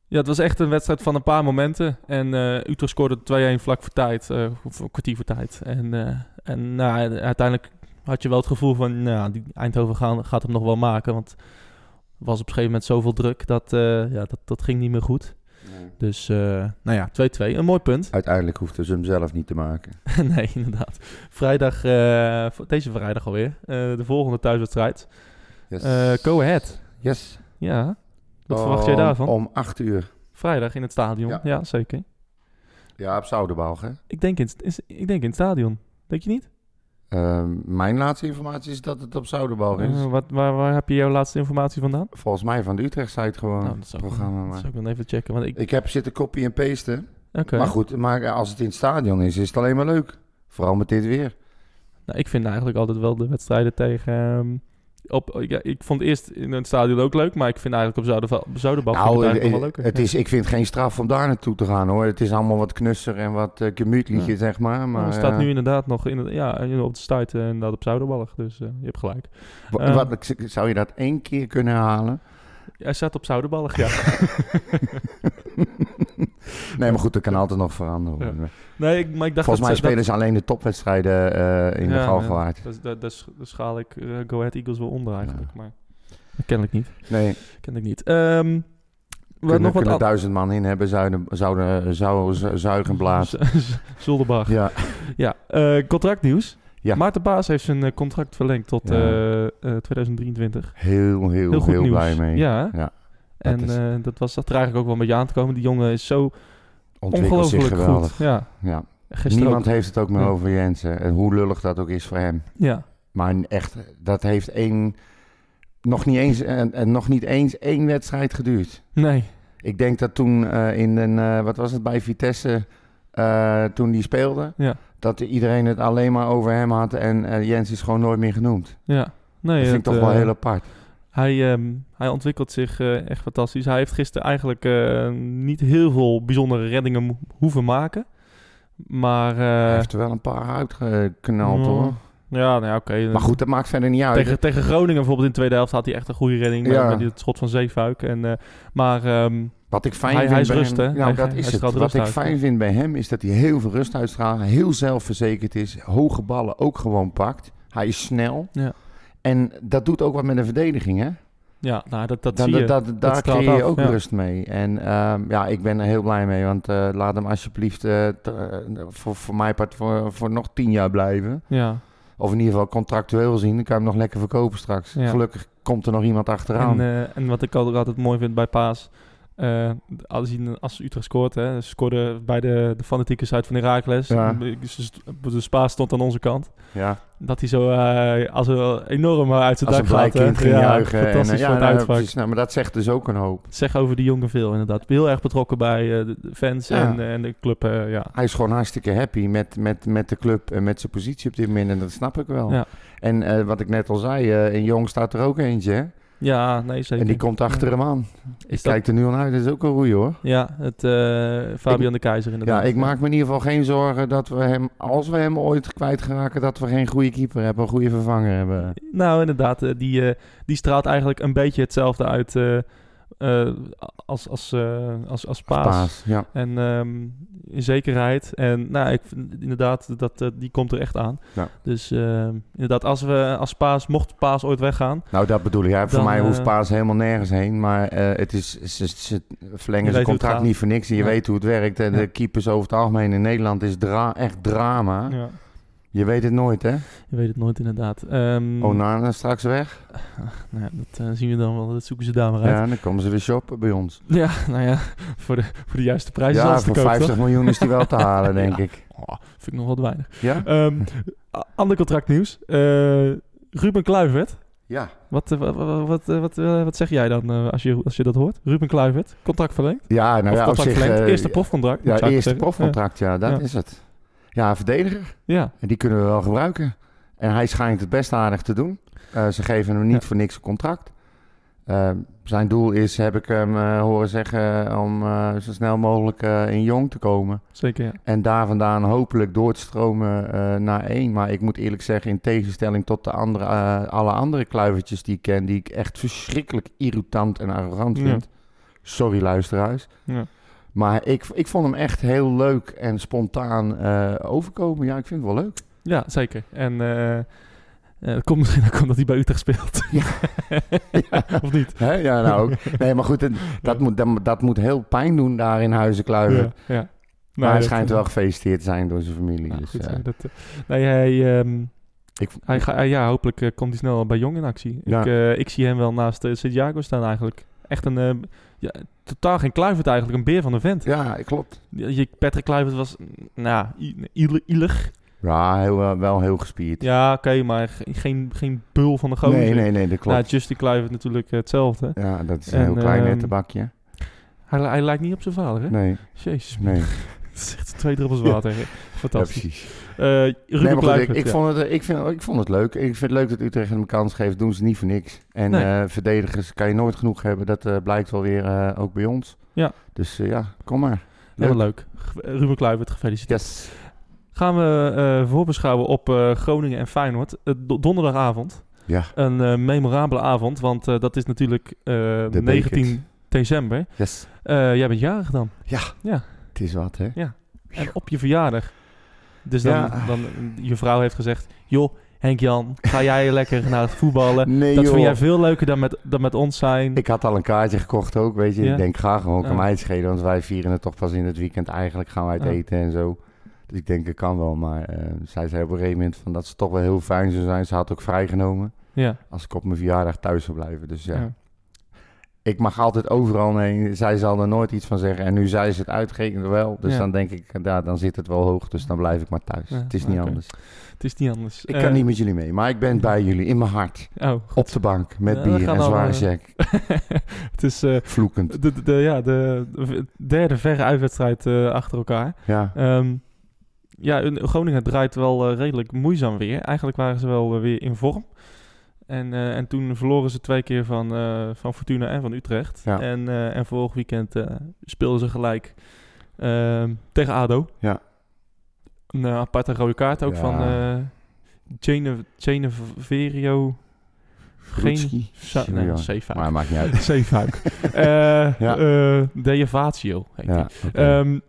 ja, het was echt een wedstrijd van een paar momenten. En eh, Utrecht scoorde 2-1 vlak voor tijd, eh, voor een kwartier voor tijd. En, eh, en nou, uiteindelijk had je wel het gevoel van, nou, die Eindhoven gaan, gaat hem nog wel maken. Want er was op een gegeven moment zoveel druk dat, eh, ja, dat, dat ging niet meer goed. Dus eh, nou ja, 2-2, een mooi punt. <laughs> Uiteindelijk hoefden ze hem zelf niet te maken. nee, inderdaad. Vrijdag, eh, voor- deze vrijdag alweer, eh, de volgende thuiswedstrijd. Yes. Eh go ahead. Yes. Ja, wat verwacht jij daarvan? Oh, Ehm, Om 8 uur. Vrijdag in het stadion, Ja. ja, zeker. Ja, op Zouderbalg, hè? Ik denk in, het- is- ik denk in het stadion. Denk je niet? Ehm, mijn laatste informatie is dat het op Zouderbalg Oh, is. Eh, wat, waar, waar heb je jouw laatste informatie vandaan? Volgens mij van de Utrecht-site gewoon. Nou, dat het zou ik- Oh, programma Dat maar. zou ik dan even checken. Want ik, Ik heb zitten copy en pasten. oké. Maar goed, maar eh, als het in het stadion is, is het alleen maar leuk. Vooral met dit weer. nou, ik vind eigenlijk altijd wel de wedstrijden tegen... ehm, op, ja, ik vond eerst in het stadion ook leuk, maar ik vind eigenlijk op Zouderba- Zouderbouw vind ik het nou, eigenlijk nog wel het, leuker. het Ja. is, ik vind het geen straf om daar naartoe te gaan hoor. Het is allemaal wat knusser en wat uh, Ja. zeg maar. Maar maar het Nou, staat eh, nu inderdaad nog in, het- ja, in- op de site en inderdaad op Zouderballig. Dus eh, je hebt gelijk. wa- eh, wat, ik- zou je dat één keer kunnen herhalen? Hij staat op Zouderballig, ja. <laughs> Nee, maar goed, dat kan altijd nog veranderen. Nee, ik, maar ik Volgens dacht mij dat, ze- dat- spelen ze alleen de topwedstrijden eh, in Ja, de ja. Galgenwaard. dat, dat, dat, sch- dat schaal ik eh, Go Ahead Eagles wel onder eigenlijk, maar dat kennelijk niet. Nee, Kennelijk niet. Ehm we kunnen, hebben nog wat kunnen an- duizend man in hebben, zouden, zouden, zou zu- zuigen blazen. <laughs> Z- Zolderbach. Ja, Ja, eh, contractnieuws. Ja. Maarten Baas heeft zijn eh, contract verlengd tot Ja. eh, eh, 2023. heel, heel, Heel heel, goed nieuws. blij mee. Ja. Ja, En is- eh, dat was dat er eigenlijk ook wel een beetje aan te komen. Die jongen is zo Ontwikkelt zich ongelooflijk geweldig. goed. Ja, Ja. gisteren Niemand heeft het ook meer Ja. over Jensen. En hoe lullig dat ook is voor hem. ook. Ja, Maar echt, dat heeft één, nog niet eens, en, en nog niet eens één wedstrijd geduurd. nee. Ik denk dat toen eh, in een, eh, wat was het, bij Vitesse, eh, toen die speelde, Ja. dat iedereen het alleen maar over hem had en eh, Jens is gewoon nooit meer genoemd. Ja. Nee, dat vind ik het, toch wel eh, heel apart. Hij, ehm, hij ontwikkelt zich eh, echt fantastisch. Hij heeft gisteren eigenlijk eh, niet heel veel bijzondere reddingen mo- hoeven maken. Maar Hij eh, heeft er wel een paar uitgeknald ja, hoor. ja, nou ja, oké. Maar goed, dat maakt verder niet uit. Tegen, tegen Groningen bijvoorbeeld in de tweede helft had hij echt een goede redding. met- Ja. Met het schot van Zeefuik. En, eh, maar ehm, Wat ik fijn Hij- vind hij is bij rust, hè? hem, nou, Hij- dat hij is het. straalt Wat rust ik uit, fijn ja. vind bij hem is dat hij heel veel rust uitstraalt, heel zelfverzekerd is, hoge ballen ook gewoon pakt. Hij is snel. Ja. En dat doet ook wat met een verdediging, hè? ja, nou, dat, dat Dan- zie je. dat- daar straalt creëer je af, ook ja. rust mee. En ehm, ja, ik ben er heel blij mee. Want eh, laat hem alsjeblieft eh, t- eh, voor, voor mijn part voor, voor nog tien jaar blijven. Ja. Of in ieder geval contractueel gezien. Dan kan je hem nog lekker verkopen straks. Ja. Gelukkig komt er nog iemand achteraan. En, eh, en wat ik ook altijd mooi vind bij Paas. eh, als, hij, als Utrecht scoort, hè, ze scoorden bij de, de fanatieke site van Herakles. Ja. Dus Paas stond aan onze kant. ja. Dat hij zo eh, als een enorm uit zijn Als een dak blij gaat. hè. kind ging ja, juichen. en, eh, Fantastisch ja, voor het nou, uitvak. precies. Nou, maar dat zegt dus ook een hoop. Zeg over die jongen veel inderdaad. Heel erg betrokken bij eh, de de fans Ja. en, en de club. eh, ja. Hij is gewoon hartstikke happy met, met, met de club en met zijn positie op dit moment. En dat snap ik wel. Ja. En eh, wat ik net al zei, eh, in Jong staat er ook eentje. Hè? ja, nee zeker. En die komt achter hem aan. Is Ik dat- kijk er nu al naar uit. Dat is ook een roei hoor. Ja, het, eh, Fabian de Keizer Ja, inderdaad. ik maak me in ieder geval geen zorgen dat we hem, als we hem ooit kwijtraken, dat we geen goede keeper hebben, een goede vervanger hebben. Nou, inderdaad. eh, die, eh, die straalt eigenlijk een beetje hetzelfde uit eh, eh, als, als, eh, als, als Paas. Paas, ja. En ehm, in zekerheid. En nou, ik vind inderdaad, dat, eh, die komt er echt aan. Ja. Dus ehm, inderdaad, als, we, als Paas, mocht Paas ooit weggaan... Nou, dat bedoel ik. Ja, voor Dan, mij hoeft eh, Paas helemaal nergens heen, maar eh, het is, ze, ze Je verlengen weet hoe zijn het contract gaat. niet voor niks en je Ja. weet hoe het werkt. En Ja. de keepers over het algemeen in Nederland is dra echt drama. Ja. Je weet het nooit, hè? Je weet het nooit inderdaad. Ehm, Onana straks weg. <laughs> nou ja, dat eh, zien we dan wel. Dat zoeken ze daar maar uit. Ja, dan komen ze weer shoppen bij ons. Ja, nou ja, <laughs> voor de, voor de juiste prijs is ja, alles te voor koop, 50 toch? miljoen is die wel <laughs> te halen, denk Ja. ik. Oh, vind ik nog wat weinig. Ja? Ehm, a- ander contractnieuws. Eh, Ruben Kluivert. Ja. Wat, eh, wa- wa- wa- wat, eh, wat, eh, wat zeg jij dan eh, als, je, als je dat hoort? Ruben Kluivert, contract verlengd. Ja, nou of ja, op contract zich... verlengd. eh, eerste profcontract. Ja, zou ik eerste zeggen. profcontract, ja, dat Ja. is het. Ja, verdediger. Ja, ja. En die kunnen we wel gebruiken. En hij schijnt het best aardig te doen. Eh, ze geven hem niet Ja. voor niks een contract. Eh, zijn doel is, heb ik hem eh, horen zeggen, om eh, zo snel mogelijk eh, in Jong te komen. zeker. Ja. En daar vandaan hopelijk door te stromen eh, naar één. Maar ik moet eerlijk zeggen, in tegenstelling tot de andere, eh, alle andere kluivertjes die ik ken, die ik echt verschrikkelijk irritant en arrogant Ja. vind. Sorry luisteraars. Ja. Maar ik, ik vond hem echt heel leuk en spontaan eh, overkomen. Ja, ik vind het wel leuk. Ja, zeker. En eh, eh, dat komt misschien ook omdat hij bij Utrecht speelt. <laughs> of niet? Hè? Ja, nou ook. Nee, maar goed, het- dat, moet, dat, dat moet heel pijn doen daar in Huizenkluiven. Ja, ja. Nou, Maar hij dat- eh, schijnt wel gefeliciteerd te zijn door zijn familie. Nou, dus, goed, eh, zo, dat, eh, nee, hij, ehm, ik, hij ga, hij- ja, hopelijk eh, komt hij snel bij Jong in actie. Ja. Ik, eh, ik zie hem wel naast eh, Santiago staan eigenlijk. Echt een, eh, ja, totaal geen Kluivert eigenlijk, een beer van de vent. ja, klopt. Je, Patrick Kluivert was, mm, nou, i- iele- ielig. Ja, heel, wel- wel heel gespierd. Ja, oké, maar ge- geen, geen bul van de gozer. nee, nee, nee, dat klopt. Nou, Justin Kluivert natuurlijk eh, hetzelfde. ja, dat is een en, heel klein ehm, nettenbakje. Hij, li- hij lijkt niet op zijn vader, hè? Nee, Jezus, <laughs> nee. Ja, het is echt twee druppels water. hè. Fantastisch. precies. Eh Ruben Nee, maar goed, ik, Kluivert, ik, ja. vond het, eh, ik, vind, ik vond het leuk. Ik vind het leuk dat Utrecht hem een kans geeft. Doen ze niet voor niks. En Nee. eh, verdedigers kan je nooit genoeg hebben. Dat eh, blijkt wel weer eh, ook bij ons. Ja. Dus eh, ja, kom maar. Helemaal leuk. Ge- Ruben Kluivert, gefeliciteerd. Yes. Gaan we eh, voorbeschouwen op eh, Groningen en Feyenoord. Eh, do- donderdagavond. Ja, Een eh, memorabele avond, want eh, dat is natuurlijk eh, beker. 19 december. yes. Eh, jij bent jarig dan. Het is wat, hè? En op je verjaardag. Dus dan, Ja. dan, je vrouw heeft gezegd... joh, Henk-Jan, ga jij <laughs> lekker naar het voetballen? Nee, dat joh. vind jij veel leuker dan met, dan met ons zijn. Ik had al een kaartje gekocht ook, weet je. Ja. Ik denk, ga gewoon, kan Ja. mij het schelen. Want wij vieren het toch pas in het weekend. Eigenlijk gaan wij het Ja. eten en zo. Dus ik denk, ik kan wel. Maar eh, zij zei op een gegeven moment van dat ze toch wel heel fijn zou zijn. Ze had ook vrijgenomen Ja. als ik op mijn verjaardag thuis zou blijven. Dus ja, Ja. ik mag altijd overal heen. Zij zal er nooit iets van zeggen. En nu zei ze het uitgerekend wel. Dus Ja. dan denk ik, ja, dan zit het wel hoog. Dus dan blijf ik maar thuis. Ja, het is niet oké. anders. Het is niet anders. Ik Eh, kan niet met jullie mee. Maar ik ben bij jullie, in mijn hart. Oh, Op de bank, met Ja, we bier gaan en al, zwaar eh, check. het is eh, Vloekend. de, de, de- ja, de de derde verre uitwedstrijd eh, achter elkaar. Ja. Ehm, ja, hun- Groningen draait wel eh, redelijk moeizaam weer. Eigenlijk waren ze wel eh, weer in vorm. En, eh, en toen verloren ze twee keer van, eh, van Fortuna en van Utrecht. Ja. En, eh, en vorig weekend eh, speelden ze gelijk ehm, tegen ADO. Ja. Een eh, aparte rode kaart ook Ja. van eh Gene- Geneverio Groetski. Sa- nee, Ja. Zeefuik. Maar maakt niet uit. <laughs> Zeefuik. Eh Ja. eh, Deavatio heet die. <laughs> Ja, oké. Ehm,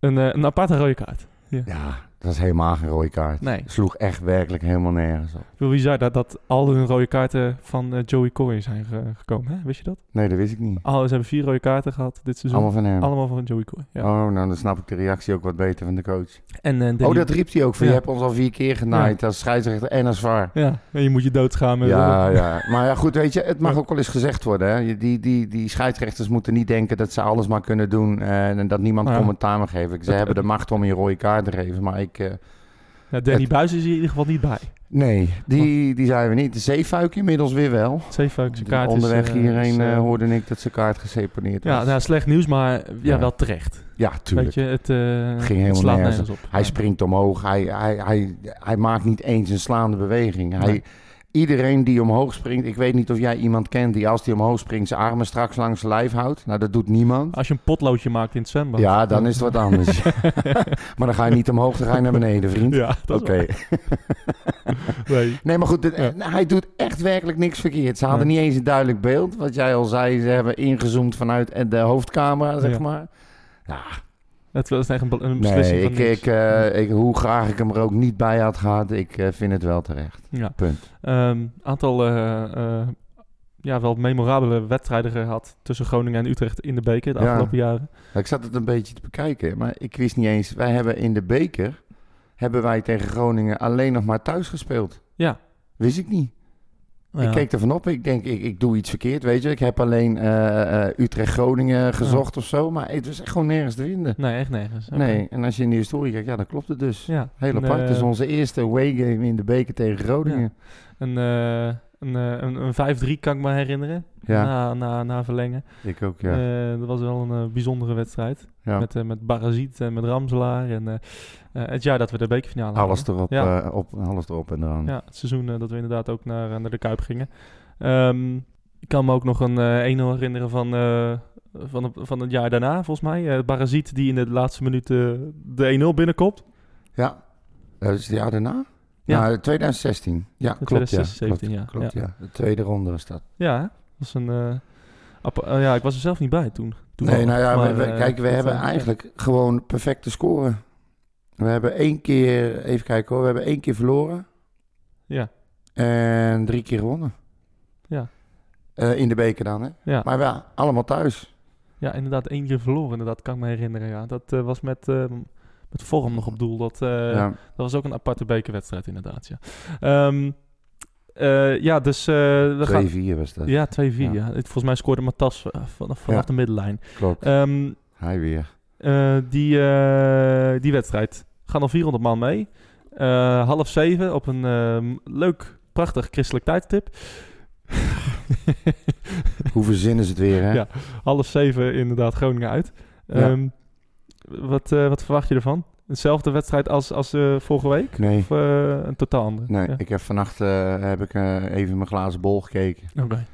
een, eh, een aparte rode kaart. ja, dat is helemaal geen rode kaart. Nee. Sloeg echt werkelijk helemaal nergens op. Wel bizar dat, dat al hun rode kaarten van eh, Joey Corey zijn ge- gekomen. Hè? Wist je dat? Nee, dat wist ik niet. Al, ze hebben vier rode kaarten gehad dit seizoen. Allemaal Dus Allemaal, van hem. van Joey Corey. Ja. Oh, nou dan snap ik de reactie ook wat beter van de coach. En, eh, Oh, Danny- dat riep hij ook. Van, Ja. Je hebt ons al vier keer genaaid als scheidsrechter en als VAR. Ja, en je moet je doodgaan met... Ja, ja. Maar ja, goed, weet je, het mag Ja. ook wel eens gezegd worden. Hè. Je- Die, die, die scheidsrechters moeten niet denken dat ze alles maar kunnen doen eh, en, en dat niemand Ja. commentaar mag geven. Ze Het- hebben de macht om je rode kaart te geven, maar ik... eh, Ja, Danny Het- Buis is hier in ieder geval niet bij. nee, die, die zijn we niet. De zeefuik inmiddels weer wel. Zeefuik, zijn kaart Onderweg is... eh, hierheen is, eh, eh, hoorde ik dat zijn kaart geseponeerd was. Ja, nou, slecht nieuws, maar ja, Ja. wel terecht. Ja, tuurlijk. Weet je, het, eh, Ging helemaal het slaat nergens nergens op. Hij springt omhoog. Hij, hij, hij, hij maakt niet eens een slaande beweging. Hij, Nee. Iedereen die omhoog springt... Ik weet niet of jij iemand kent die als die omhoog springt... zijn armen straks langs zijn lijf houdt. Nou, dat doet niemand. Als je een potloodje maakt in het zwembad. Ja, dan is het wat <laughs> anders. <laughs> maar dan ga je niet omhoog, dan ga je naar beneden, vriend. Ja, dat Oké. is waar. Nee. Nee, maar goed, dit- nou, Ja. hij doet echt werkelijk niks verkeerd. Ze hadden Nee. niet eens een duidelijk beeld. Wat jij al zei, ze hebben ingezoomd vanuit de hoofdcamera, zeg Ja. maar. Het was echt een, be- een beslissing Nee, van ik, niks. ik, eh, ik, hoe graag ik hem er ook niet bij had gehad, ik eh, vind het wel terecht. Ja. Punt. Ehm, aantal eh, eh, ja, wel memorabele wedstrijden gehad tussen Groningen en Utrecht in de beker de Ja. afgelopen jaren. Nou, Ik zat het een beetje te bekijken, maar ik wist niet eens. Wij hebben in de beker hebben wij tegen Groningen alleen nog maar thuis gespeeld. Ja. Wist ik niet. Ja. Ik keek ervan op. Ik denk, ik, ik doe iets verkeerd, weet je. Ik heb alleen eh, eh, Utrecht-Groningen gezocht of zo, maar het was echt gewoon nergens te vinden. Nee, echt nergens. Oké. Nee, en als je in de historie kijkt, ja, dan klopt het dus. Ja, Heel een, apart. Het is eh, onze eerste away game in de beker tegen Groningen. Een, eh, een, eh, een, een 5-3 kan ik me herinneren, Ja, na, na, na verlengen. ik ook, ja. Eh, dat was wel een eh, bijzondere wedstrijd. ja. Met, eh, met Barazit en met Ramselaar. En, eh, eh, het jaar dat we de bekerfinale hadden. Alles erop, Ja. eh, op, alles erop en eraan. Ja, het seizoen eh, dat we inderdaad ook naar, eh, naar de Kuip gingen. Ehm, ik kan me ook nog een eh 1-0 herinneren van, eh, van, het- van het jaar daarna, volgens mij. Eh Barazit die in de laatste minuut eh, de 1-0 binnenkomt. Ja. Dat is het jaar daarna? Ja. Ja, 2016. Ja, klopt. ja. 2017, ja. klopt, klopt, ja. De tweede ronde was dat. Ja, hè? Dat was een... eh, appa- eh, ja, ik was er zelf niet bij toen. Nee, nou ja, Maar, we- we- eh, kijk, we dat, hebben eh, eigenlijk gewoon perfecte scoren. We hebben één keer, even kijken hoor, we hebben één keer verloren. Ja. En drie keer gewonnen. Ja. Eh, in de beker dan, hè? Ja. Maar ja, allemaal thuis. Ja, inderdaad, één keer verloren, inderdaad, kan ik me herinneren. Ja. Dat eh, was met, eh, met Vorm nog op doel. Dat, eh, ja. Dat was ook een aparte bekerwedstrijd, inderdaad. Ja, Ehm, eh, ja dus eh, we gaan. 2-4 was dat. Ja, 2-4. Ja. eh. Ja. Het- Volgens mij scoorde Matas eh, vanaf, vanaf Ja. de middenlijn. Klopt. Ehm, Hij weer. eh, die, eh, die wedstrijd. Gaan al 400 man mee. Eh, half zeven op een ehm, leuk, prachtig christelijk tijdstip. Hoe verzinnen ze het weer, hè? Ja. half zeven inderdaad Groningen uit. Ja. Ehm, wat, eh, wat verwacht je ervan? Hetzelfde wedstrijd als, als eh, vorige week? Nee. Of eh, een totaal andere? Nee, Ja. ik heb vannacht eh, heb ik, eh, even mijn glazen bol gekeken. Oké.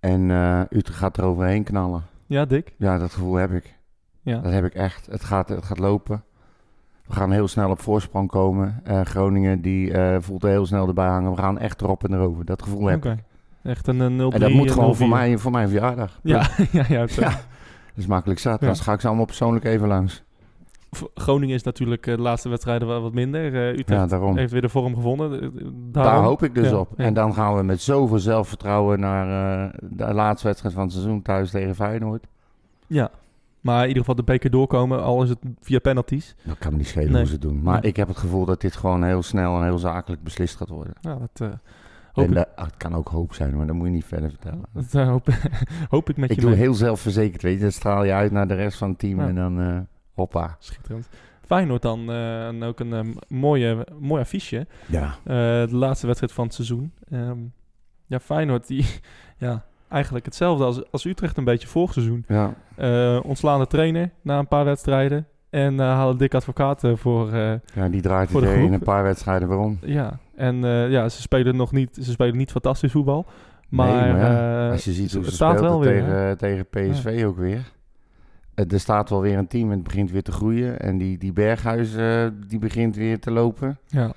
En eh Utrecht gaat er overheen knallen. Ja, Dick? Ja, dat gevoel heb ik. Ja. Dat heb ik echt. Het gaat, het gaat lopen. We gaan heel snel op voorsprong komen. Eh, Groningen die eh, voelt er heel snel erbij hangen. We gaan echt erop en erover. Dat gevoel heb ik. Oké. Echt een, eh, een 0 En dat moet gewoon voor, mij, voor mijn verjaardag. Ja, <laughs> ja, ja. het- eh, Ja. Dat is makkelijk zat. Ja. Dan ga ik ze allemaal persoonlijk even langs. V- Groningen is natuurlijk eh, de laatste wedstrijden wel wat minder. Eh, Utrecht Ja, daarom. heeft weer de vorm gevonden. Eh, eh, Daarom, Daar hoop ik dus Ja, op. ja. En dan gaan we met zoveel zelfvertrouwen naar eh, de laatste wedstrijd van het seizoen thuis tegen Feyenoord. Ja. Maar in ieder geval de beker doorkomen, al is het via penalties. Dat kan me niet schelen Nee. hoe ze het doen. Maar Nee. ik heb het gevoel dat dit gewoon heel snel en heel zakelijk beslist gaat worden. Ja, dat, eh, hoop, en ik, dat, ah, het kan ook hoop zijn, maar dat moet je niet verder vertellen. dat eh, hoop, <laughs> hoop ik met Ik je doe mee. heel zelfverzekerd, weet je. Dan straal je uit naar de rest van het team Ja. en dan eh, hoppa. Schitterend. Feyenoord dan eh, en ook een eh, mooie, mooi affiche. Ja. Eh, de laatste wedstrijd van het seizoen. Ehm, ja, Feyenoord die... <laughs> Ja, eigenlijk hetzelfde als, als Utrecht een beetje vorig seizoen. ja. Eh ontslaande trainer na een paar wedstrijden. En eh, halen dik advocaten voor... eh, Ja, die draait Voor het de eh, in groep. een paar wedstrijden weer om. ja, en eh, ja, ze spelen nog niet... Ze spelen niet fantastisch voetbal. Maar, maar ja, eh, Als je ziet hoe het ze staat speelt wel het weer, tegen, tegen PSV ook weer. Eh, Er staat wel weer een team en het begint weer te groeien. En die, die Berghuis eh, die begint weer te lopen. ja,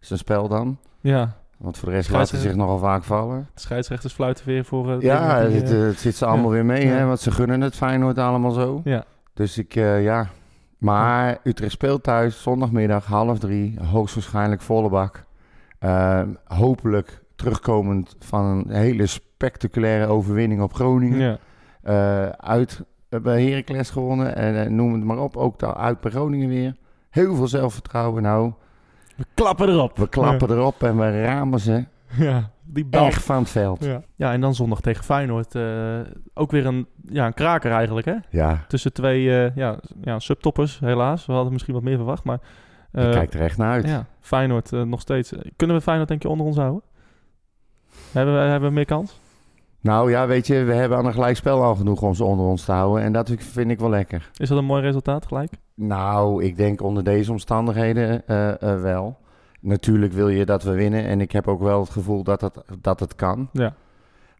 Zijn spel dan. ja, Want voor de rest laat ze Scheidsrechter. zich nogal vaak vallen. de scheidsrechters fluiten weer voor... eh, Ja, dingen die, het, eh, eh, het zit ze allemaal weer mee, Ja. hè, want ze gunnen het Feyenoord allemaal zo. Ja. Dus ik, eh, ja. Maar Utrecht speelt thuis, zondagmiddag, half drie, hoogstwaarschijnlijk volle bak. Eh, hopelijk terugkomend van een hele spectaculaire overwinning op Groningen. ja. Eh, uit eh, bij Heracles gewonnen, en eh, noem het maar op, ook daar uit bij Groningen weer. Heel veel zelfvertrouwen, nou, We klappen erop. we klappen erop en we ramen ze <laughs> Ja, die bal. echt van het veld. Ja. ja, en dan zondag tegen Feyenoord. eh, ook weer een, ja, een kraker eigenlijk, hè? Ja, Tussen twee eh, ja, s- ja, subtoppers, helaas. We hadden misschien wat meer verwacht, maar... ik eh, kijk er echt naar uit. ja, Feyenoord eh, nog steeds. Kunnen we Feyenoord denk je onder ons houden? Hebben we, hebben we meer kans? Nou ja, weet je, we hebben aan een gelijkspel al genoeg om ze onder ons te houden. En dat vind ik wel lekker. Is dat een mooi resultaat gelijk? Nou, ik denk onder deze omstandigheden eh, eh, wel. Natuurlijk wil je dat we winnen. En ik heb ook wel het gevoel dat dat, dat het kan. Ja.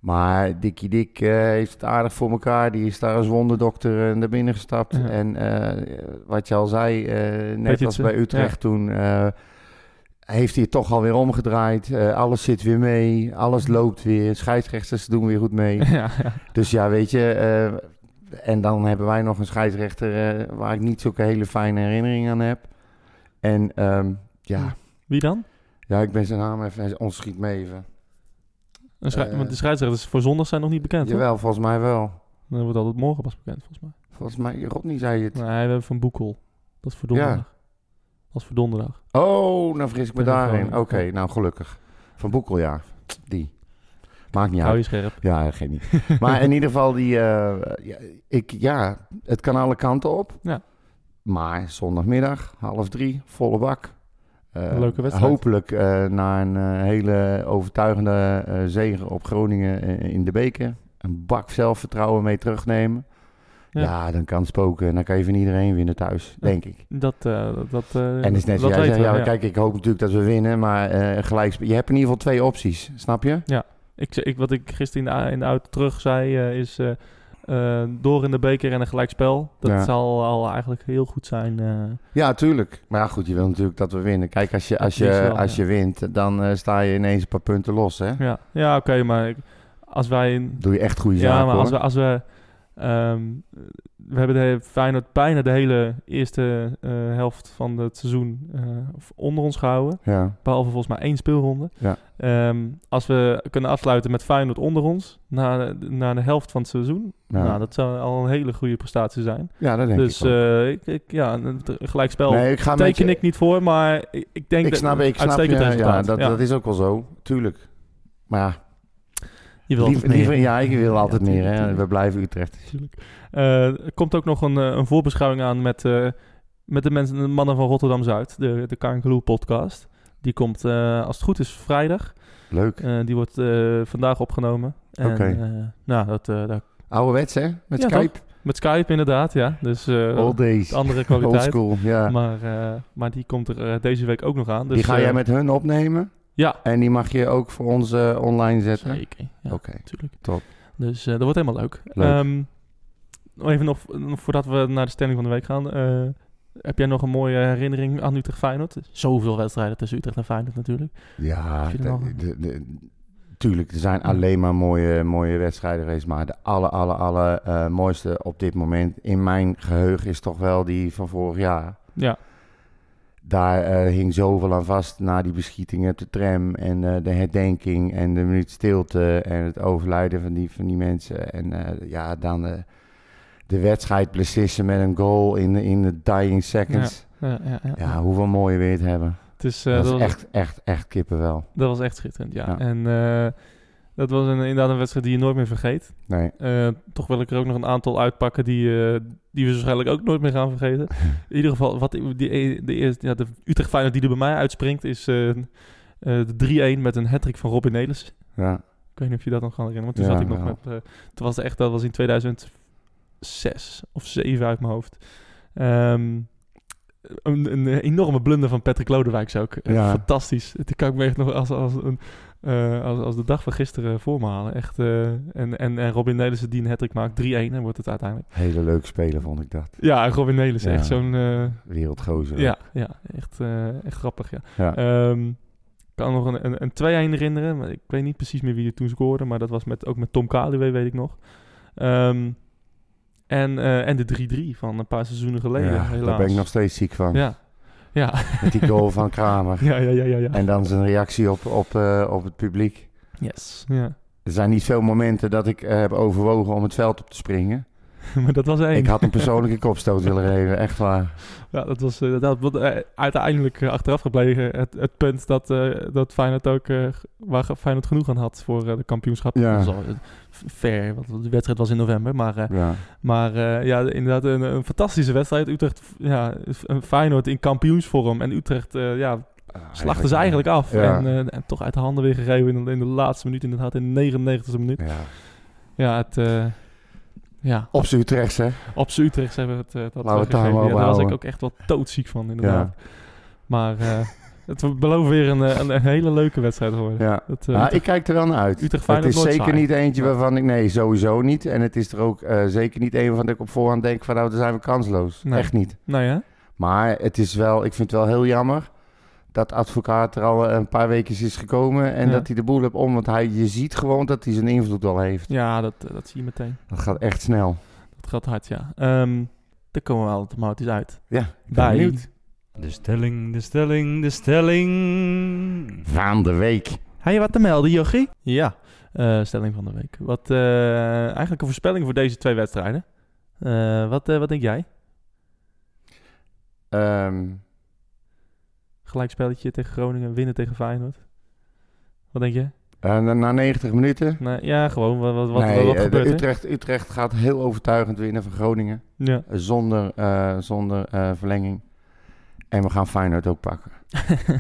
Maar Dikkie Dik eh, heeft het aardig voor elkaar. Die is daar als wonderdokter eh, naar binnen gestapt. Ja. En eh, wat je al zei, eh, Weet net je als het, bij eh, Utrecht toen... eh, heeft hij het toch alweer omgedraaid. Eh, alles zit weer mee. Alles loopt weer. Scheidsrechters doen weer goed mee. <laughs> ja, ja. Dus ja, weet je. eh, en dan hebben wij nog een scheidsrechter eh, waar ik niet zulke hele fijne herinneringen aan heb. En ehm, ja. Wie dan? ja, ik ben zijn naam even, hij ontschiet me even. Een schrij- Eh. want de scheidsrechters voor zondag zijn nog niet bekend, hoor. Jawel, volgens mij wel. Dan wordt altijd morgen pas bekend, volgens mij. Volgens mij, Rodney zei het. Nee, we hebben Van Boekel. Dat is voor Ja. donderdag. Dat is voor donderdag. Oh, dan fris ik me Ja, daarin. gewoon, Oké, ja. nou gelukkig. Van Boekel, ja. Die. Maakt niet Hou uit. je scherp. Ja, geen niet. Maar in ieder geval, die, eh, ja, ik, ja, het kan alle kanten op. Ja. Maar zondagmiddag, half drie, volle bak. Eh, Leuke wedstrijd. Hopelijk eh, na een eh, hele overtuigende eh zege op Groningen eh, in de beker. Een bak zelfvertrouwen mee terugnemen. Ja. Ja, dan kan het spoken. en Dan kan je van iedereen winnen thuis, Ja. denk ik. Dat, eh, dat, eh, En het is net dat zoals jij weten zegt, we, ja, ja. kijk, ik hoop natuurlijk dat we winnen, maar eh, gelijk, je hebt in ieder geval twee opties, snap je? Ik, ze- ik, wat ik gisteren in de, a- in de auto terug zei, eh, is eh, eh, door in de beker en een gelijkspel. Dat Ja. zal al eigenlijk heel goed zijn. eh. Ja, tuurlijk. Maar ja, goed, je wil natuurlijk dat we winnen. Kijk, als je, Dat als is je, wel, als ja. je wint, dan eh, sta je ineens een paar punten los, hè? ja, ja oké, maar ik- als wij... een- Doe je echt goede Ja, zaken, maar hoor. als we... Als we ehm, we hebben de he- Feyenoord bijna de hele eerste eh, helft van het seizoen eh, onder ons gehouden. Ja, Behalve volgens mij één speelronde. Ja. Ehm, als we kunnen afsluiten met Feyenoord onder ons, na, na de helft van het seizoen, Ja. nou, dat zou al een hele goede prestatie zijn. ja dat denk dus ik wel. eh, ik, ik- ja, een een gelijkspel nee, ik ga met teken je- ik niet voor, maar ik, ik denk Ik dat snap, ik snap je. uitstekend Ja, resultaat. dat, Ja. dat is ook wel zo. Tuurlijk. Maar ja, Je wilt liever, het meer. liever- ja, ik wil altijd meer. tuurlijk, Hè. tuurlijk. We blijven Utrecht. Natuurlijk. Eh, er komt ook nog een, eh, een voorbeschouwing aan met, eh, met de, mensen, de mannen van Rotterdam-Zuid, de, de Kangaloo podcast. Die komt, eh, als het goed is, vrijdag. Leuk. Eh, die wordt eh, vandaag opgenomen. En, Oké. eh, nou, dat, eh, daar- Ouderwets, hè? Met Ja, Skype. met Skype inderdaad, ja. Dus eh, All days. andere Old kwaliteit. school, ja. Maar, eh, maar die komt er eh, deze week ook nog aan. Dus, die ga eh, jij met hun opnemen. Ja. En die mag je ook voor ons eh, online zetten. Zeker, ja. Oké. natuurlijk. Top. Dus eh, dat wordt helemaal leuk. Leuk. Ehm, nog even nog, nog voordat we naar de stelling van de week gaan. eh, Heb jij nog een mooie herinnering aan Utrecht Feyenoord? Zoveel wedstrijden tussen Utrecht en Feyenoord natuurlijk. Ja, Heb je er de- nog een? de- de- tuurlijk, er zijn alleen maar mooie, mooie wedstrijden geweest. Maar de aller, aller, aller eh, mooiste op dit moment in mijn geheugen is toch wel die van vorig jaar. Ja, Daar eh, hing zoveel aan vast na die beschietingen op de tram en eh, de herdenking en de minuut stilte en het overlijden van die, van die mensen. En eh, ja, dan eh, de wedstrijd beslissen met een goal in, de- in de dying seconds. ja, ja, ja. Ja, hoeveel mooie weer het hebben. Het is, eh, dat dat, is was, echt, echt, echt kippenwel. dat was echt schitterend, ja. Ja. En eh, dat was een, inderdaad een wedstrijd die je nooit meer vergeet. Nee. Eh, toch wil ik er ook nog een aantal uitpakken die, eh, die we waarschijnlijk ook nooit meer gaan vergeten. <laughs> In ieder geval, wat die, die- de, eerste, ja, de Utrecht Feyenoord die er bij mij uitspringt is eh, eh, de 3-1 met een hat van Robin Nelis. Ja. Ik weet niet of je dat nog kan herinneren, want toen Ja, zat ik nog ja. met... eh, toen was het echt, dat was in 2006 of 7 uit mijn hoofd. Ehm, een, een enorme blunder van Patrick Lodewijks ook. Eh, Ja. Fantastisch. Die kan ik me echt nog als, als, een, eh, als, als de dag van gisteren voor me halen. Echt, eh, en, en, en Robin Nelissen die een hattrick maakt. 3-1 en wordt het uiteindelijk. Hele leuke speler vond ik dat. Ja, en Robin Nelissen. Ja. Echt zo'n... eh, Wereldgozer. ja, ja echt, eh, echt grappig, ja. Ja. Ehm, ik kan nog een, een, een 2-1 herinneren. Maar ik weet niet precies meer wie er toen scoorde. Maar dat was met, ook met Tom Kaluwe, weet ik nog. Ehm, en, eh, en de 3-3 van een paar seizoenen geleden, Ja, helaas. daar ben ik nog steeds ziek van. Ja, ja, <laughs> Met die goal van Kramer. ja, ja, ja, ja. <laughs> ja. En dan zijn reactie op, op, eh, op het publiek. Yes, ja. <laughs> Er zijn niet veel momenten dat ik eh, heb overwogen om het veld op te springen. maar dat was één. Ik had een persoonlijke <laughs> kopstoot willen geven, echt waar. <laughs> Ja, dat was eh, dat, wat, eh, uiteindelijk eh, achteraf gebleven het, het punt dat, eh, dat Feyenoord ook eh, waar Feyenoord genoeg aan had voor eh, de kampioenschap. Ja. Dat is al, eh, fair, want de wedstrijd was in november, maar eh, Ja, Maar eh, ja, inderdaad, een, een fantastische wedstrijd. Utrecht, ja, een Feyenoord in kampioensvorm. En Utrecht, eh, ja, slachten ze eigenlijk af. Ja. En, eh, en toch uit de handen weer gegeven in de, in de laatste minuut. Inderdaad, in de 99e minuut. Ja. Ja, het... eh, ja, Op z'n Utrechts, hè? op z'n Utrechts hebben we het eh, dat Laten we het daar weggegeven. maar Ja, op daar was ik houden. ook echt wel doodziek van, inderdaad. Maar eh, het belooft weer een, eh, een, een hele leuke wedstrijd te worden. Ja. Dat, eh, Ja, ik kijk er wel naar uit. Utrecht het Feyenoord is nooit zeker saai. niet eentje Ja. waarvan ik... Nee, sowieso niet. En het is er ook eh, zeker niet een waarvan ik op voorhand denk van... Nou, dan zijn we kansloos. Nee. Echt niet. Nou ja, Maar het is wel, ik vind het wel heel jammer dat advocaat er al een paar weken is gekomen en Ja. dat hij de boel hebt om. Want hij, je ziet gewoon dat hij zijn invloed al heeft. ja dat, eh, dat zie je meteen. Dat gaat echt snel. Dat gaat hard, ja. Ehm daar komen we automatisch uit. Ja, ik ben Bij benieuwd. De stelling, de stelling, de stelling. Van de week. Heb je wat te melden, Jochie? Ja, eh, stelling van de week. Wat, eh, eigenlijk een voorspelling voor deze twee wedstrijden. Eh, wat, eh, wat denk jij? Ehm, Gelijkspelletje tegen Groningen, winnen tegen Feyenoord. Wat denk je? eh, na- na 90 minuten. Nee, ja, gewoon wat, wat, wat, nee, wat eh, de gebeurt er? Utrecht, Utrecht gaat heel overtuigend winnen van Groningen. Ja. <laughs> eh, Zonder, eh, zonder eh, verlenging. En we gaan Feyenoord ook pakken.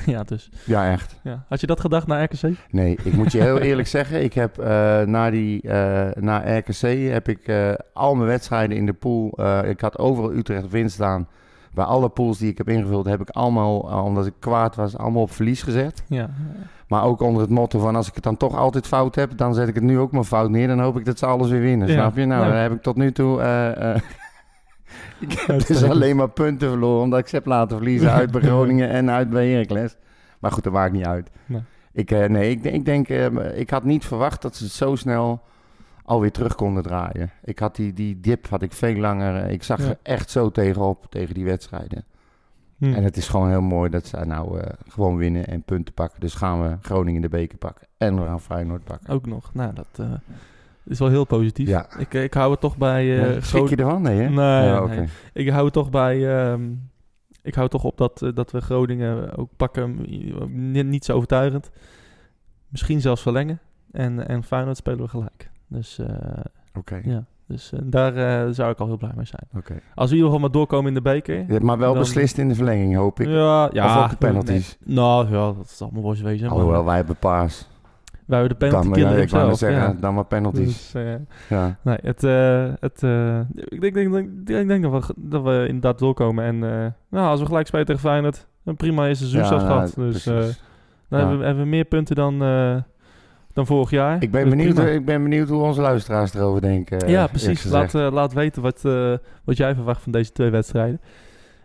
ja, dus. Ja, echt. Ja. Had je dat gedacht naar RKC? Nee, ik moet je heel eerlijk zeggen. Ik heb eh, na, die, eh, na RKC heb ik eh, al mijn wedstrijden in de pool. eh, ik had overal Utrecht op winst staan. Bij alle pools die ik heb ingevuld, heb ik allemaal, eh, omdat ik kwaad was, allemaal op verlies gezet. Ja. Maar ook onder het motto van als ik het dan toch altijd fout heb, dan zet ik het nu ook maar fout neer. Dan hoop ik dat ze alles weer winnen. Ja. Snap je? Nou, Ja. daar heb ik tot nu toe. eh, <laughs> eh, ik heb dus Uitstekend. alleen maar punten verloren omdat ik ze heb laten verliezen <laughs> uit bij Groningen en uit bij Heracles. Maar goed, dat maakt niet uit. Nee. Ik, eh, nee, ik, denk- ik denk, eh, ik had niet verwacht dat ze het zo snel alweer terug konden draaien. Ik had die, die dip had ik veel langer. eh, Ik zag Ja. er echt zo tegenop tegen die wedstrijden. Hm. En het is gewoon heel mooi dat ze nou eh, gewoon winnen en punten pakken. Dus gaan we Groningen de beker pakken. En we gaan Feyenoord pakken. Ook nog. Nou, dat eh, is wel heel positief. Ja. Ik, ik hou het toch bij eh Ja, Schrik je ervan? Nee, hè? Nee, Ja, nee. oké. Ik hou toch bij. ehm, ik hou toch op dat, eh, dat we Groningen ook pakken. Ni- Niet zo overtuigend. Misschien zelfs verlengen. En, en Feyenoord spelen we gelijk. Dus, eh, Oké. ja. dus eh, daar eh, zou ik al heel blij mee zijn. Oké. Als we in ieder geval maar doorkomen in de beker. Ja, Maar wel Dan- beslist in de verlenging, hoop ik. Ja, ja. ook de penalties. nee. Nou ja, dat is allemaal worst wezen. maar Alhoewel, wij hebben paas. wij hebben de penalty Dan, ja, killer ik wou zelf. net zeggen, ja. dan maar penalties. Dus, eh, Ja. Nee, het, eh, het, eh, ik denk, denk, denk, denk, denk dat, we, dat we inderdaad doorkomen. En eh, nou, als we gelijk spelen tegen Feyenoord, een prima eerste seizoen zelfs nou, gehad. Dus eh, precies. dan Ja. hebben, we, hebben we meer punten dan, eh, dan vorig jaar. ik, ben Dus benieuwd, <laughs> prima. ik ben benieuwd hoe onze luisteraars erover denken. eh, ja, eerlijk precies. gezegd. Laat, eh, laat weten wat, eh, wat jij verwacht van deze twee wedstrijden.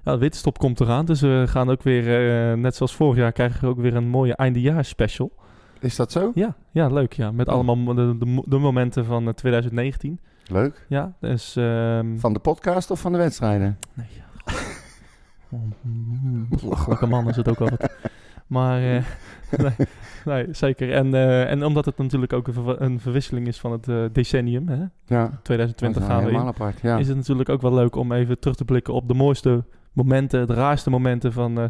Ja, de winterstop komt eraan, dus we gaan ook weer, eh, net zoals vorig jaar, krijgen we ook weer een mooie eindejaars special. Is dat zo? Ja, ja leuk ja. Met allemaal mo- de, de, mo- de momenten van eh, 2019. Leuk. Ja, dus... ehm, Van de podcast of van de wedstrijden? Nee, ja. Oh, mm, Gelukkige man is het ook altijd. Maar eh, <laughs> nee, nee, zeker. En, eh, en omdat het natuurlijk ook een, ver- een verwisseling is van het eh, decennium, Oh, hè? Ja. Dat 2020 is gaan we in, nou helemaal apart. Ja. is het natuurlijk ook wel leuk om even terug te blikken op de mooiste momenten, de raarste momenten van eh,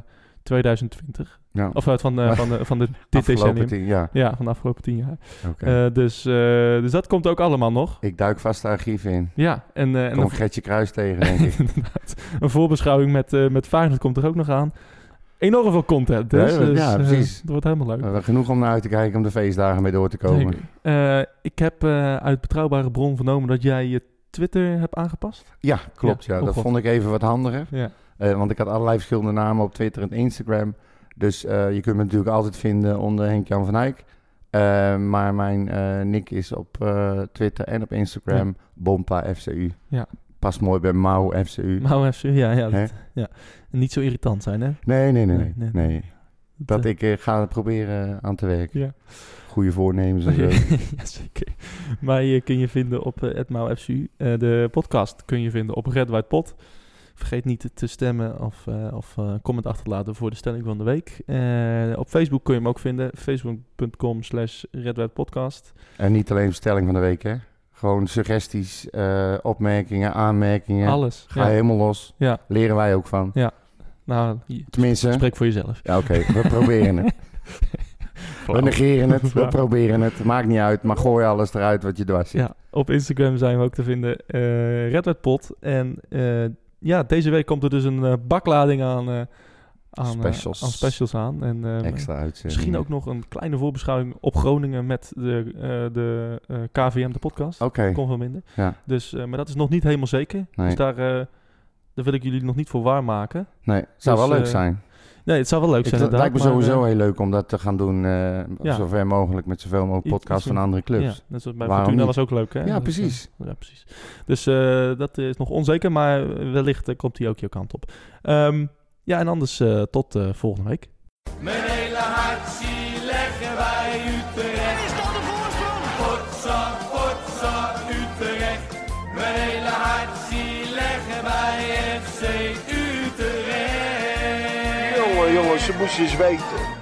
2020. ja. Of uit <laughs> van, eh, van, de- van de, dit Afgelopen decennium. tien- Ja. Ja, van de afgelopen tien jaar. Oké. Eh, dus, eh, dus dat komt ook allemaal nog. ik duik vast de archieven in. Ja, en, eh, en Kom ik Gertje Kruis tegen, denk <laughs> ik. Inderdaad. Een voorbeschouwing met, eh met Feyenoord komt er ook nog aan. Enorm veel content. Dus, Ja, ja, dus, eh, precies. het wordt helemaal leuk. Eh, genoeg om naar uit te kijken om de feestdagen mee door te komen. Zeker. Eh, ik heb eh, uit betrouwbare bron vernomen dat jij je Twitter hebt aangepast. Ja, klopt. Ja, oh dat God. vond ik even wat handiger. Ja. Eh, want ik had allerlei verschillende namen op Twitter en Instagram. Dus eh, je kunt me natuurlijk altijd vinden onder Henk-Jan van Eyck. Eh, maar mijn eh, nick is op eh, Twitter en op Instagram Bompa FCU. Ja. Past mooi bij Mau FCU. Nou, FC, ja, ja, Hè? dat- ja. Niet zo irritant zijn, hè? Nee, nee, nee, Nee, nee, nee, nee. eh, Dat ik eh, ga er proberen eh, aan te werken. Ja. Goede voornemens en <laughs> zo. ja, zeker. Mij eh, kun je vinden op uh, FCU. Eh, de podcast kun je vinden op Red White Pot. Vergeet niet te stemmen of, eh, of eh, comment achter te laten voor de stelling van de week. Eh, op Facebook kun je hem ook vinden. Facebook.com slash Red White Podcast. en niet alleen bestelling van de week, hè. Gewoon suggesties, eh, opmerkingen, aanmerkingen. Alles. Ga Ja. helemaal los. Ja. Leren wij ook van. Nou, je- Tenminste, spreek voor jezelf. Ja, oké, <laughs> we proberen het. We negeren het, we proberen het. Maakt niet uit, maar gooi alles eruit wat je dwars zit. Ja, op Instagram zijn we ook te vinden. eh Red White Pot. En eh, ja, deze week komt er dus een eh, baklading aan, eh, aan, eh, Specials. aan specials aan. En, eh, Extra uitzending. Misschien ook nog een kleine voorbeschouwing op Groningen met de, eh, de eh, KVM, de podcast. Oké, Kon veel minder. Ja. Dus, eh, maar dat is nog niet helemaal zeker. Nee. Dus daar, eh, daar wil ik jullie nog niet voor waarmaken. nee, het zou Dus, wel leuk eh, zijn. Nee, het zou wel leuk Ik, zijn. het lijkt me inderdaad, maar, sowieso eh, heel leuk om dat te gaan doen, eh, Ja. zover mogelijk, met zoveel mogelijk Iets- podcasts iets van doen. andere clubs. Ja, net zoals bij Waarom Fortuna niet? was ook leuk. Hè? Ja, Dus, eh, precies. ja, precies. Dus eh, dat is nog onzeker, maar wellicht eh, komt die ook jouw kant op. Ehm, ja, en anders eh, tot eh, volgende week. Mijn hele hart zie leggen wij Utrecht. Is dat de voorsprong? Potsa, potsa, Utrecht. Mijn hele hart zie leggen wij FC Utrecht. Jongen, jongen, ze moesten eens weten.